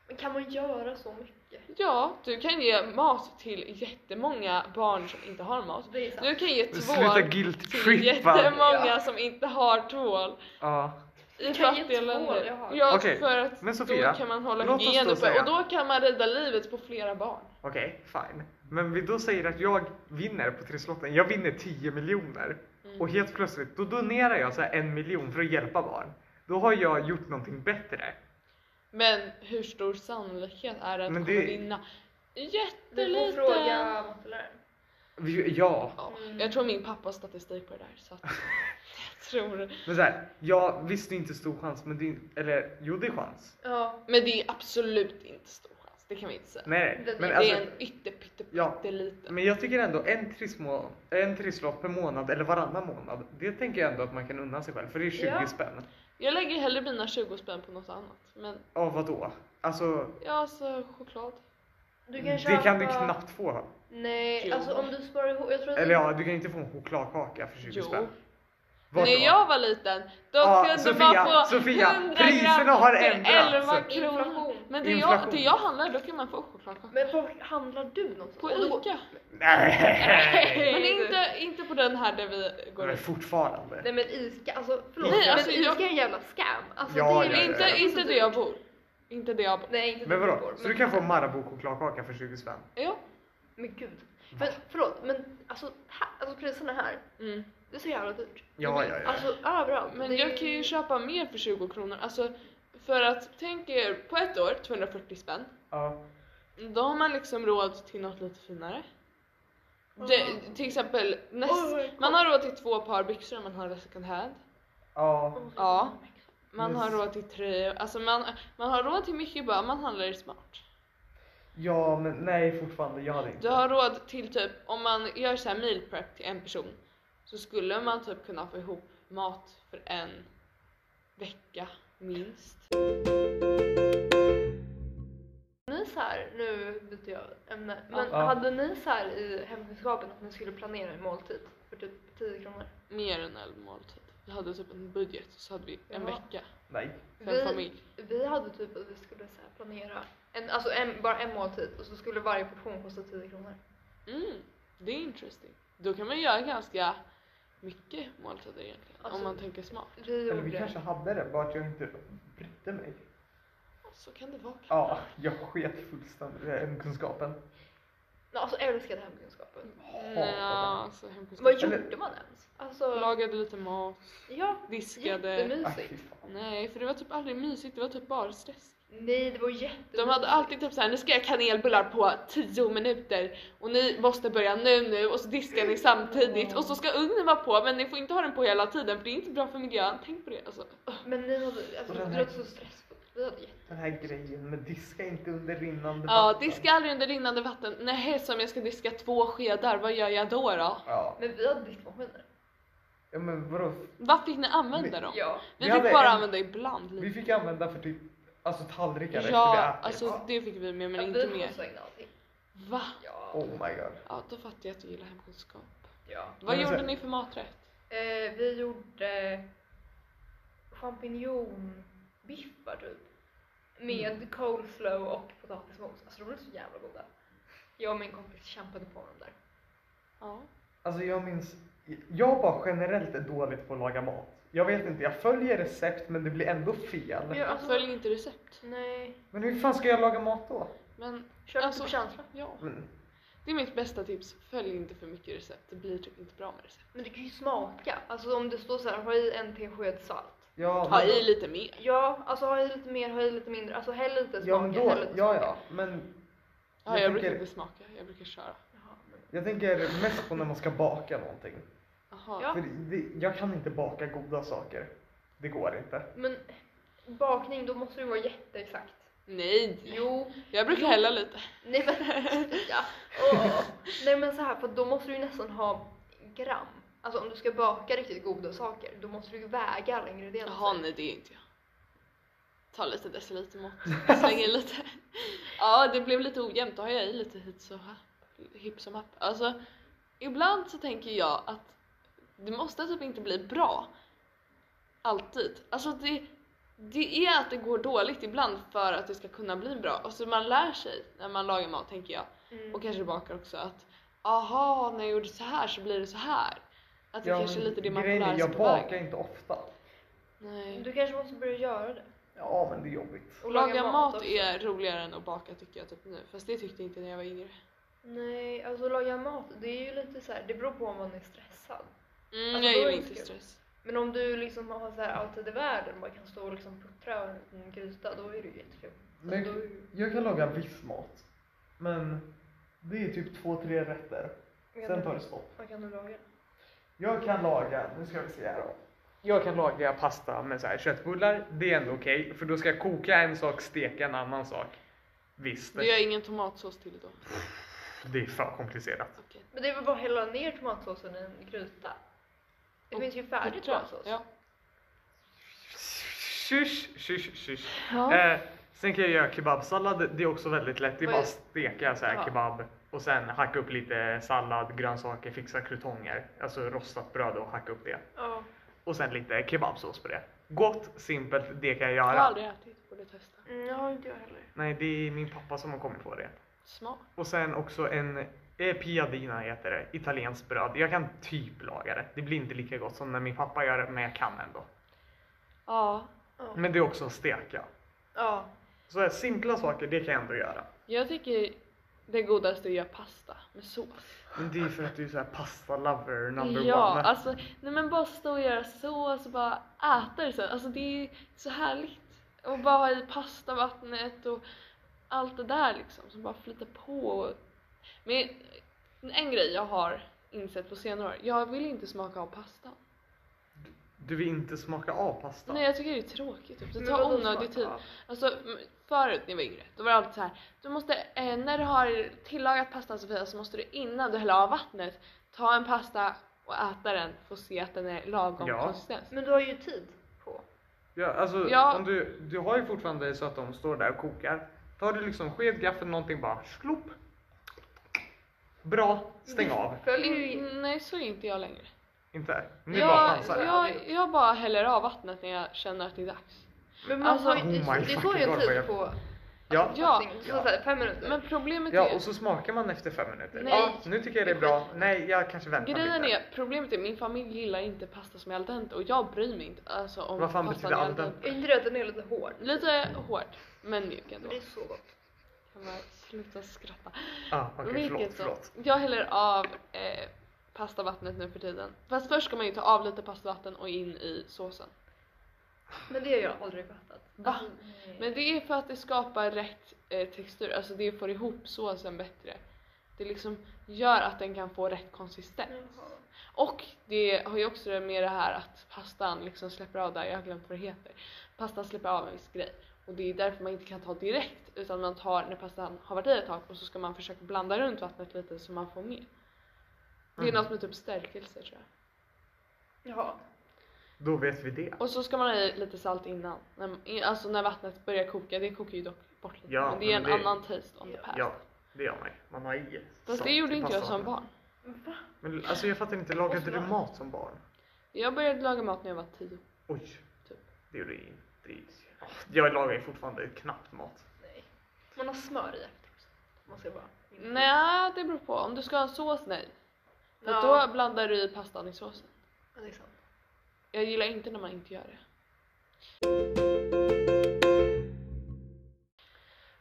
Speaker 3: Men kan man göra så mycket? mycket.
Speaker 1: Ja, du kan ge mat till jättemånga barn som inte har mat.
Speaker 3: Alltså, Det är sant.
Speaker 1: Du kan ge
Speaker 2: Sluta
Speaker 1: tvål
Speaker 2: guilt
Speaker 1: till
Speaker 2: trippa.
Speaker 1: jättemånga
Speaker 3: Ja.
Speaker 1: som inte har tvål.
Speaker 2: Ja.
Speaker 1: I
Speaker 3: kan ge
Speaker 1: fattiga
Speaker 3: tvål,
Speaker 1: länder.
Speaker 3: jaha.
Speaker 1: Ja,
Speaker 2: Okej,
Speaker 1: för att
Speaker 2: men
Speaker 1: då
Speaker 2: Sofia,
Speaker 1: kan man hålla
Speaker 2: låt oss
Speaker 1: hygien
Speaker 2: då
Speaker 1: uppe
Speaker 2: säga-
Speaker 1: och då kan man rädda livet på flera barn.
Speaker 2: Okej, fine. Men vi då säger att jag vinner på trisslotten. Jag vinner 10 miljoner.
Speaker 1: Mm.
Speaker 2: Och
Speaker 3: Mm.
Speaker 2: helt plötsligt, då donerar jag så här en miljon för att hjälpa barn. Då har jag gjort någonting bättre.
Speaker 1: Men hur stor sannolikhet är det att
Speaker 2: Men
Speaker 1: kommer
Speaker 2: det-
Speaker 1: vinna?
Speaker 3: Du får
Speaker 1: Jätteliten!
Speaker 3: fråga Mm. matteläraren.
Speaker 2: Vi- Ja,
Speaker 1: Ja, jag tror min pappa har statistik på det där så att jag tror.
Speaker 2: men så här, ja visst det är inte stor chans, men det är, eller jo det är chans.
Speaker 3: Ja,
Speaker 1: Men det är absolut inte stor chans, det kan vi inte säga.
Speaker 2: Nej,
Speaker 3: Det-
Speaker 2: men
Speaker 3: det
Speaker 1: det
Speaker 2: alltså,
Speaker 1: är en
Speaker 2: Ja.
Speaker 1: ytterpytteliten.
Speaker 2: men jag tycker ändå en, trissmå, en trisslott per månad eller varannan månad, det tänker jag ändå att man kan unna sig själv för det är 20
Speaker 3: Ja.
Speaker 2: spänn.
Speaker 1: Jag lägger hellre mina 20 spänn på något annat. Men
Speaker 2: Ja, vadå? Alltså,
Speaker 1: ja, alltså choklad.
Speaker 3: du kan köpa...
Speaker 2: det kan du knappt få.
Speaker 3: Nej,
Speaker 1: Jo.
Speaker 3: alltså om du sparar ihop... Jag tror att
Speaker 2: Eller ja, du kan inte få en chokladkaka för 20
Speaker 1: Jo.
Speaker 2: spänn. Vart
Speaker 1: När
Speaker 2: då?
Speaker 1: jag var liten, då
Speaker 2: Ja,
Speaker 1: kunde
Speaker 2: Sofia,
Speaker 1: man få
Speaker 2: Sofia,
Speaker 1: 100
Speaker 2: priserna
Speaker 1: gram
Speaker 2: har
Speaker 1: för
Speaker 2: ändrats.
Speaker 1: 11 kronor.
Speaker 3: Inflation.
Speaker 1: Men det jag,
Speaker 2: Inflation.
Speaker 1: det jag handlar, då kan man få chokladkaka.
Speaker 3: Men var handlar du någonstans? Alltså,
Speaker 1: På
Speaker 3: Om du går-
Speaker 1: ICA.
Speaker 2: Nej!
Speaker 1: Men inte, inte på den här där vi går
Speaker 2: Men
Speaker 1: ut.
Speaker 2: fortfarande.
Speaker 3: Nej men ICA, alltså förlåt.
Speaker 2: Nej,
Speaker 1: alltså,
Speaker 3: men ICA
Speaker 1: jag-
Speaker 3: är en jävla scam. Alltså,
Speaker 2: Ja,
Speaker 3: det är
Speaker 2: ja, ja,
Speaker 1: Inte,
Speaker 2: ja.
Speaker 1: inte där jag bor. Inte där jag bor.
Speaker 3: Nej, inte
Speaker 2: Men
Speaker 3: där
Speaker 2: vadå?
Speaker 3: jag bor,
Speaker 2: Så
Speaker 3: men-
Speaker 2: du kan få Marabou-chokladkaka för 20 spänn?
Speaker 1: Ja.
Speaker 3: Men gud. Men, förlåt, men alltså, här, alltså priserna här.
Speaker 1: Mm.
Speaker 3: Det är så jävla dyrt.
Speaker 2: Ja, ja, ja.
Speaker 3: Alltså överallt.
Speaker 1: Men
Speaker 3: Det är-
Speaker 1: jag kan ju köpa mer för 20 kronor. Alltså, för att tänk er på ett år 240 spänn.
Speaker 2: ja.
Speaker 1: Då har man liksom råd till något lite finare. Det, till exempel näst,
Speaker 3: Oj,
Speaker 1: man har råd till två par byxor om man har second hand.
Speaker 2: ja.
Speaker 1: Ja. Man har
Speaker 2: Yes.
Speaker 1: råd till tröjor. Alltså man, man har råd till mycket bara man handlar smart.
Speaker 2: Ja, men nej fortfarande. Jag hade inte.
Speaker 1: Du har råd till typ, om man gör så här meal prep till en person så skulle man typ kunna få ihop mat för en vecka minst.
Speaker 3: Ni så här, nu byter jag ämne, men
Speaker 2: Ja.
Speaker 3: hade ni så här i hemkunskapen att ni skulle planera en måltid för typ 10 kronor?
Speaker 1: Mer än en måltid. Vi hade typ en budget så hade vi en
Speaker 3: Ja.
Speaker 1: vecka
Speaker 2: Nej.
Speaker 1: för en
Speaker 3: Vi-
Speaker 1: familj.
Speaker 3: Vi hade typ att vi skulle så här planera en, alltså en, bara en måltid och så skulle varje portion kosta 10 kronor.
Speaker 1: Mm, det är interesting. Då kan man göra ganska mycket måltider egentligen
Speaker 3: Alltså-
Speaker 1: om man tänker smart.
Speaker 3: Vi
Speaker 2: Eller
Speaker 3: gjorde
Speaker 2: vi kanske hade det, bara att jag inte brydde mig.
Speaker 1: Så kan det vara.
Speaker 2: Ja, jag sket fullständigt i den kunskapen.
Speaker 3: Nej, alltså älskade hemkunskapen.
Speaker 1: Nej, alltså
Speaker 3: Vad
Speaker 1: hemkunskap.
Speaker 2: Eller-
Speaker 3: gjorde man ens? Alltså,
Speaker 1: Lagade lite mat,
Speaker 3: ja,
Speaker 1: diskade.
Speaker 2: Aj, fy
Speaker 3: jättemysigt.
Speaker 2: fan.
Speaker 1: Nej, för det var typ aldrig mysigt. Det var typ bara stress.
Speaker 3: Nej, det var jättemysigt.
Speaker 1: De hade alltid typ såhär, nu ska jag kanelbullar på 10 minuter och ni måste börja nu nu och så diskar ni samtidigt och så ska ugnen vara på men ni får inte ha den på hela tiden för det är inte bra för miljön. Tänk på det alltså.
Speaker 3: Men ni hade, alltså
Speaker 2: Och den
Speaker 3: det
Speaker 2: här-
Speaker 3: låter så stressfullt. Vi hade jätte...
Speaker 2: Den här grejen med diska inte under rinnande
Speaker 1: Ja,
Speaker 2: vatten.
Speaker 1: diska aldrig under rinnande vatten. Nej, som jag ska diska två skedar, vad gör jag då då?
Speaker 2: Ja.
Speaker 3: Men vi hade diskmaskiner.
Speaker 2: ja, men vadå?
Speaker 1: Vad fick ni använda dem?
Speaker 3: Ja.
Speaker 1: Vi
Speaker 2: Vi
Speaker 1: fick
Speaker 2: hade
Speaker 1: bara
Speaker 2: en-
Speaker 1: använda ibland.
Speaker 2: Vi
Speaker 1: lite.
Speaker 2: fick använda för typ alltså tallrikar
Speaker 1: Ja,
Speaker 2: efter vi ätit.
Speaker 1: alltså det fick vi med men
Speaker 3: ja,
Speaker 1: inte
Speaker 3: vi
Speaker 1: mer.
Speaker 3: slängde allting.
Speaker 1: Va?
Speaker 3: Ja.
Speaker 2: Oh my god.
Speaker 1: Ja, då fattar jag att du gillar hemkunskap.
Speaker 3: ja.
Speaker 1: Vad
Speaker 2: Men så-
Speaker 1: gjorde ni för maträtt?
Speaker 3: Eh, vi gjorde champinjonbiffar typ. Med coleslaw och potatismos. Alltså de blev så jävla goda. Jag och min kompis kämpade på dem där.
Speaker 1: Ja.
Speaker 2: Alltså jag minns, jag bara generellt är dåligt på att laga mat. Jag vet inte, jag följer recept men det blir ändå fel.
Speaker 3: Ja,
Speaker 1: Jag
Speaker 3: alltså-
Speaker 1: följer inte recept.
Speaker 3: Nej.
Speaker 2: Men hur fan ska jag laga mat då?
Speaker 1: Men
Speaker 3: Köpte
Speaker 1: Alltså-
Speaker 3: på känsla.
Speaker 1: ja.
Speaker 2: Mm.
Speaker 1: Det är mitt bästa tips. Följ inte för mycket recept. Det blir typ inte bra med recept.
Speaker 3: Men det kan ju smaka. Alltså om det står så här, ha i en tesked salt.
Speaker 2: Ja,
Speaker 1: Ha
Speaker 2: men,
Speaker 1: i lite mer.
Speaker 3: Ja, alltså ha i lite mer, ha i lite mindre. Alltså häll lite, smaka,
Speaker 2: ja, men då,
Speaker 3: häll lite,
Speaker 2: ja,
Speaker 3: smaka.
Speaker 2: ja, men
Speaker 1: Ja,
Speaker 2: Jag
Speaker 1: jag brukar
Speaker 2: tänker-
Speaker 1: inte smaka. Jag brukar köra.
Speaker 3: Jaha, men-
Speaker 2: jag tänker mest på när man ska baka någonting.
Speaker 1: Jaha.
Speaker 3: Ja.
Speaker 2: För det, jag kan inte baka goda saker. Det går inte.
Speaker 1: Alltså,
Speaker 3: Men bakning, då måste det vara jätteexakt.
Speaker 1: Nej.
Speaker 3: Jo,
Speaker 1: Jag brukar hälla lite.
Speaker 3: nej men ja. Åh. Nej men så här, för då måste du ju nästan ha gram. Alltså om du ska baka riktigt goda saker, då måste du ju väga alla ingredienser.
Speaker 1: Jaha,
Speaker 4: Alltså,
Speaker 1: nej det är inte jag. Ta lite decilitermått. Slänger lite. Ja, det blev lite ojämnt. Då har jag i lite hit så här. Hipp som happ. Alltså, ibland så tänker jag att det måste typ inte bli bra. Alltid. Alltså det, det är att det går dåligt ibland för att det ska kunna bli bra. Och så man lär sig när man lagar mat tänker jag.
Speaker 3: Mm.
Speaker 1: Och kanske bakar också att aha, när jag gjorde så här så blir det så här. Att det
Speaker 4: Ja,
Speaker 1: kanske är
Speaker 4: men
Speaker 1: lite det man får
Speaker 4: grejen är,
Speaker 1: lära sig
Speaker 4: Jag
Speaker 1: på
Speaker 4: bakar
Speaker 1: vägen.
Speaker 4: inte ofta.
Speaker 1: Nej.
Speaker 3: Du kanske måste börja göra det.
Speaker 4: Ja, men det är jobbigt.
Speaker 3: Och
Speaker 1: Laga mat
Speaker 3: också.
Speaker 1: är roligare än att baka tycker jag typ nu. Fast det tyckte jag inte när jag var yngre.
Speaker 3: Nej, alltså laga mat, det är ju lite så här, det beror på om man är stressad.
Speaker 1: Mm,
Speaker 3: Alltså,
Speaker 1: jag
Speaker 3: då
Speaker 1: gillar
Speaker 3: är det
Speaker 1: inte
Speaker 3: kul.
Speaker 1: stress.
Speaker 3: Men om du liksom har så här allt i det världen och bara kan stå och liksom puttra över en liten gryta, då är det ju jättekul.
Speaker 4: Men
Speaker 3: Alltså, då är det ju-
Speaker 4: jag kan laga viss mat. Men det är typ två, tre rätter.
Speaker 3: Vad kan
Speaker 4: Sen
Speaker 3: du-
Speaker 4: tar det stopp.
Speaker 3: Vad kan du laga?
Speaker 4: Jag kan laga, nu ska vi se här då.
Speaker 2: Jag kan laga pasta med så här köttbullar, det är ändå okej. för då ska jag koka en sak, steka en annan sak. Visst,
Speaker 1: Du gör ingen tomatsås till då?
Speaker 2: det är för komplicerat.
Speaker 1: Okej.
Speaker 3: Men det är väl bara att hälla ner tomatsåsen i en gryta? Det
Speaker 1: Och
Speaker 3: finns ju färdig
Speaker 1: Puttra.
Speaker 3: tomatsås.
Speaker 1: Ja.
Speaker 2: Tjus, tjus, tjus.
Speaker 1: Ja.
Speaker 2: Eh, sen kan jag göra kebabsallad, det är också väldigt lätt. Det är
Speaker 3: Vad
Speaker 2: bara
Speaker 3: är-
Speaker 2: att steka så här
Speaker 1: Ja.
Speaker 2: kebab och sen hacka upp lite sallad, grönsaker, fixa krutonger. Alltså rostat bröd och hacka upp det.
Speaker 3: Ja.
Speaker 2: Och sen lite kebabsås på det. Gott, simpelt, det kan jag
Speaker 1: Jag har
Speaker 2: göra.
Speaker 1: aldrig ätit, borde testa.
Speaker 3: Mm, jag har inte jag heller.
Speaker 2: Nej, det är min pappa som har kommit på det.
Speaker 1: Smart.
Speaker 2: Och sen också en eh, piadina heter det, italienskt bröd. Jag kan typ laga det. Det blir inte lika gott som när min pappa gör det, men jag kan ändå.
Speaker 1: Ja.
Speaker 3: Ja.
Speaker 2: Men det är också att steka.
Speaker 3: ja.
Speaker 2: Så här, simpla saker, det kan jag ändå göra.
Speaker 1: Jag tycker det godaste är att göra pasta med sås.
Speaker 2: Men det är för att du är såhär pasta lover number
Speaker 1: ja,
Speaker 2: one.
Speaker 1: alltså nej men bara stå och göra sås och bara äta det sen. Alltså det är så härligt. Och bara ha i pastavattnet och allt det där liksom som bara flyter på. och- Men en grej jag har insett på senare år, jag vill inte smaka av pasta.
Speaker 2: Du vill inte smaka av pasta.
Speaker 1: Nej jag tycker det är tråkigt, typ. det
Speaker 3: Men
Speaker 1: tar
Speaker 3: vadå
Speaker 1: onödig
Speaker 3: smak?
Speaker 1: tid.
Speaker 3: Ja.
Speaker 1: Alltså m- förut när jag var yngre, då var det alltid så här. Du måste, eh, när du har tillagat pastan Sofia så måste du innan du häller av vattnet ta en pasta och äta den för att se att den är lagom
Speaker 2: Ja.
Speaker 1: konsistens.
Speaker 3: Men du har ju tid på.
Speaker 2: Ja, alltså,
Speaker 1: Ja.
Speaker 2: Om du, du har ju fortfarande så att de står där och kokar. Tar du liksom sked, gaffel, någonting bara slopp. Bra, stäng av.
Speaker 3: Följ ju...
Speaker 1: Mm, nej så är inte jag längre.
Speaker 2: Inte? Nu bara
Speaker 1: Jag,
Speaker 2: chansar jag.
Speaker 1: jag, jag bara häller av vattnet när jag känner att det är dags.
Speaker 3: Men man
Speaker 1: Alltså-
Speaker 3: har ju...
Speaker 2: Oh my
Speaker 3: det tar ju
Speaker 2: fucking
Speaker 3: en
Speaker 2: God, vad jag-
Speaker 3: tid på.
Speaker 2: Ja.
Speaker 1: Ja,
Speaker 3: allting. Så, så här, fem minuter.
Speaker 1: men problemet
Speaker 2: ja,
Speaker 1: är
Speaker 2: och så smakar man efter fem minuter.
Speaker 1: Nej.
Speaker 2: Ja, nu tycker jag det är bra. Nej, jag kanske väntar
Speaker 1: Grejen
Speaker 2: lite.
Speaker 1: är, problemet är min familj gillar inte pasta som är al dente och jag bryr mig inte alltså, om
Speaker 2: Vad fan
Speaker 1: pastan
Speaker 2: betyder
Speaker 1: är
Speaker 2: al dente?
Speaker 3: Är inte det att den är lite hård?
Speaker 1: Lite hårt, men mjuk
Speaker 3: Men
Speaker 1: ändå.
Speaker 3: det är så gott.
Speaker 1: Kan man sluta skratta.
Speaker 2: Ah, okej, förlåt,
Speaker 1: som-
Speaker 2: förlåt.
Speaker 1: Jag häller av eh, pastavattnet nu för tiden. Fast först ska man ju ta av lite pastavatten och in i såsen.
Speaker 3: Men det har jag aldrig fattat.
Speaker 1: Va?
Speaker 3: Alltså, nej.
Speaker 1: Men det är för att det skapar rätt eh, textur, alltså det får ihop såsen bättre. Det liksom gör att den kan få rätt konsistens.
Speaker 3: Jaha.
Speaker 1: Och det har ju också med det här att pastan liksom släpper av där, jag har glömt vad det heter. Pastan släpper av en viss grej. Och det är därför man inte kan ta direkt utan man tar när pastan har varit i ett tag och så ska man försöka blanda runt vattnet lite så man får med. Det är
Speaker 2: Mm.
Speaker 1: något med typ stärkelse tror jag.
Speaker 3: Jaha.
Speaker 2: Då vet vi det.
Speaker 1: Och så ska man ha i lite salt innan. När- i- Alltså när vattnet börjar koka, det kokar ju dock bort lite.
Speaker 2: Ja,
Speaker 1: men det är en
Speaker 2: men det-
Speaker 1: annan taste on the past.
Speaker 2: Ja, det gör man ju. Man har i
Speaker 1: Fast
Speaker 2: salt
Speaker 1: det gjorde
Speaker 2: i
Speaker 1: inte jag
Speaker 2: pastan.
Speaker 1: som barn.
Speaker 3: Va?
Speaker 2: Men alltså jag fattar inte, lagade du mat som barn?
Speaker 1: Jag började laga mat när jag var tio.
Speaker 2: Oj.
Speaker 1: Typ.
Speaker 2: Det gjorde jag inte. Ah, Jag lagar ju fortfarande knappt mat.
Speaker 3: Nej. Man har smör i efter också. Man ska bara...
Speaker 1: Nej, det beror på. Om du ska ha sås, nej. För
Speaker 3: Ja.
Speaker 1: då blandar du i pastan i såsen.
Speaker 3: Ja, det är sant.
Speaker 1: Jag gillar inte när man inte gör det.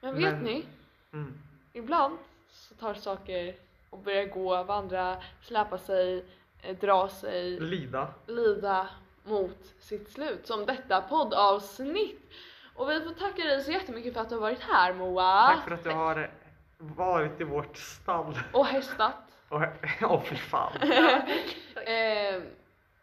Speaker 1: Men vet
Speaker 2: Men-
Speaker 1: ni?
Speaker 2: Mm.
Speaker 1: Ibland så tar saker och börjar gå, vandra, släpa sig, eh, dra sig.
Speaker 2: Lida.
Speaker 1: lida mot sitt slut som detta poddavsnitt. Och vi får tacka dig så jättemycket för att du har varit här Moa.
Speaker 2: Tack för att du har varit i vårt stall.
Speaker 1: Och hästat.
Speaker 2: Åh oh, fy fan.
Speaker 1: Eh,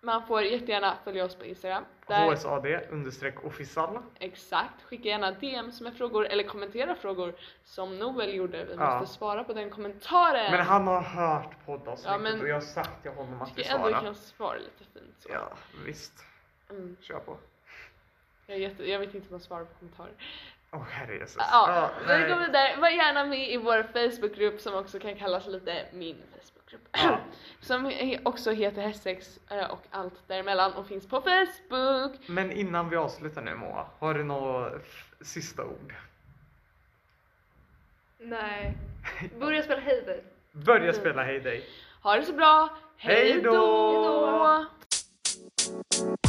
Speaker 1: man får jättegärna följa oss på Instagram. Där,
Speaker 2: HSAD understreck official.
Speaker 1: exakt. Skicka gärna DMs med frågor eller kommentera frågor som Noel gjorde. Vi
Speaker 2: Ja.
Speaker 1: måste svara på den kommentaren.
Speaker 2: Men han har hört poddavsnittet
Speaker 1: Ja, men-
Speaker 2: och jag har sagt till honom att vi
Speaker 1: jag ändå
Speaker 2: svarar.
Speaker 1: kan svara lite fint så.
Speaker 2: Ja, visst.
Speaker 1: Mm.
Speaker 2: Kör på.
Speaker 1: Jag, är jätte, jag vet inte hur man svarar på kommentarer.
Speaker 2: Åh herrejösses.
Speaker 1: Ja, vi
Speaker 2: nej.
Speaker 1: går vidare. Var gärna med i vår Facebookgrupp som också kan kallas lite min Facebookgrupp. Facebookgrupp.
Speaker 2: Ja.
Speaker 1: Som he- också heter Hästsex eh, och allt däremellan och finns på Facebook.
Speaker 2: Men innan vi avslutar nu Moa, har du några f- sista ord?
Speaker 3: Nej. Börja spela Hayday.
Speaker 1: Mm.
Speaker 2: Börja spela Hay Day!
Speaker 1: Ha det så bra! Hej
Speaker 2: Hej
Speaker 1: då!
Speaker 2: då!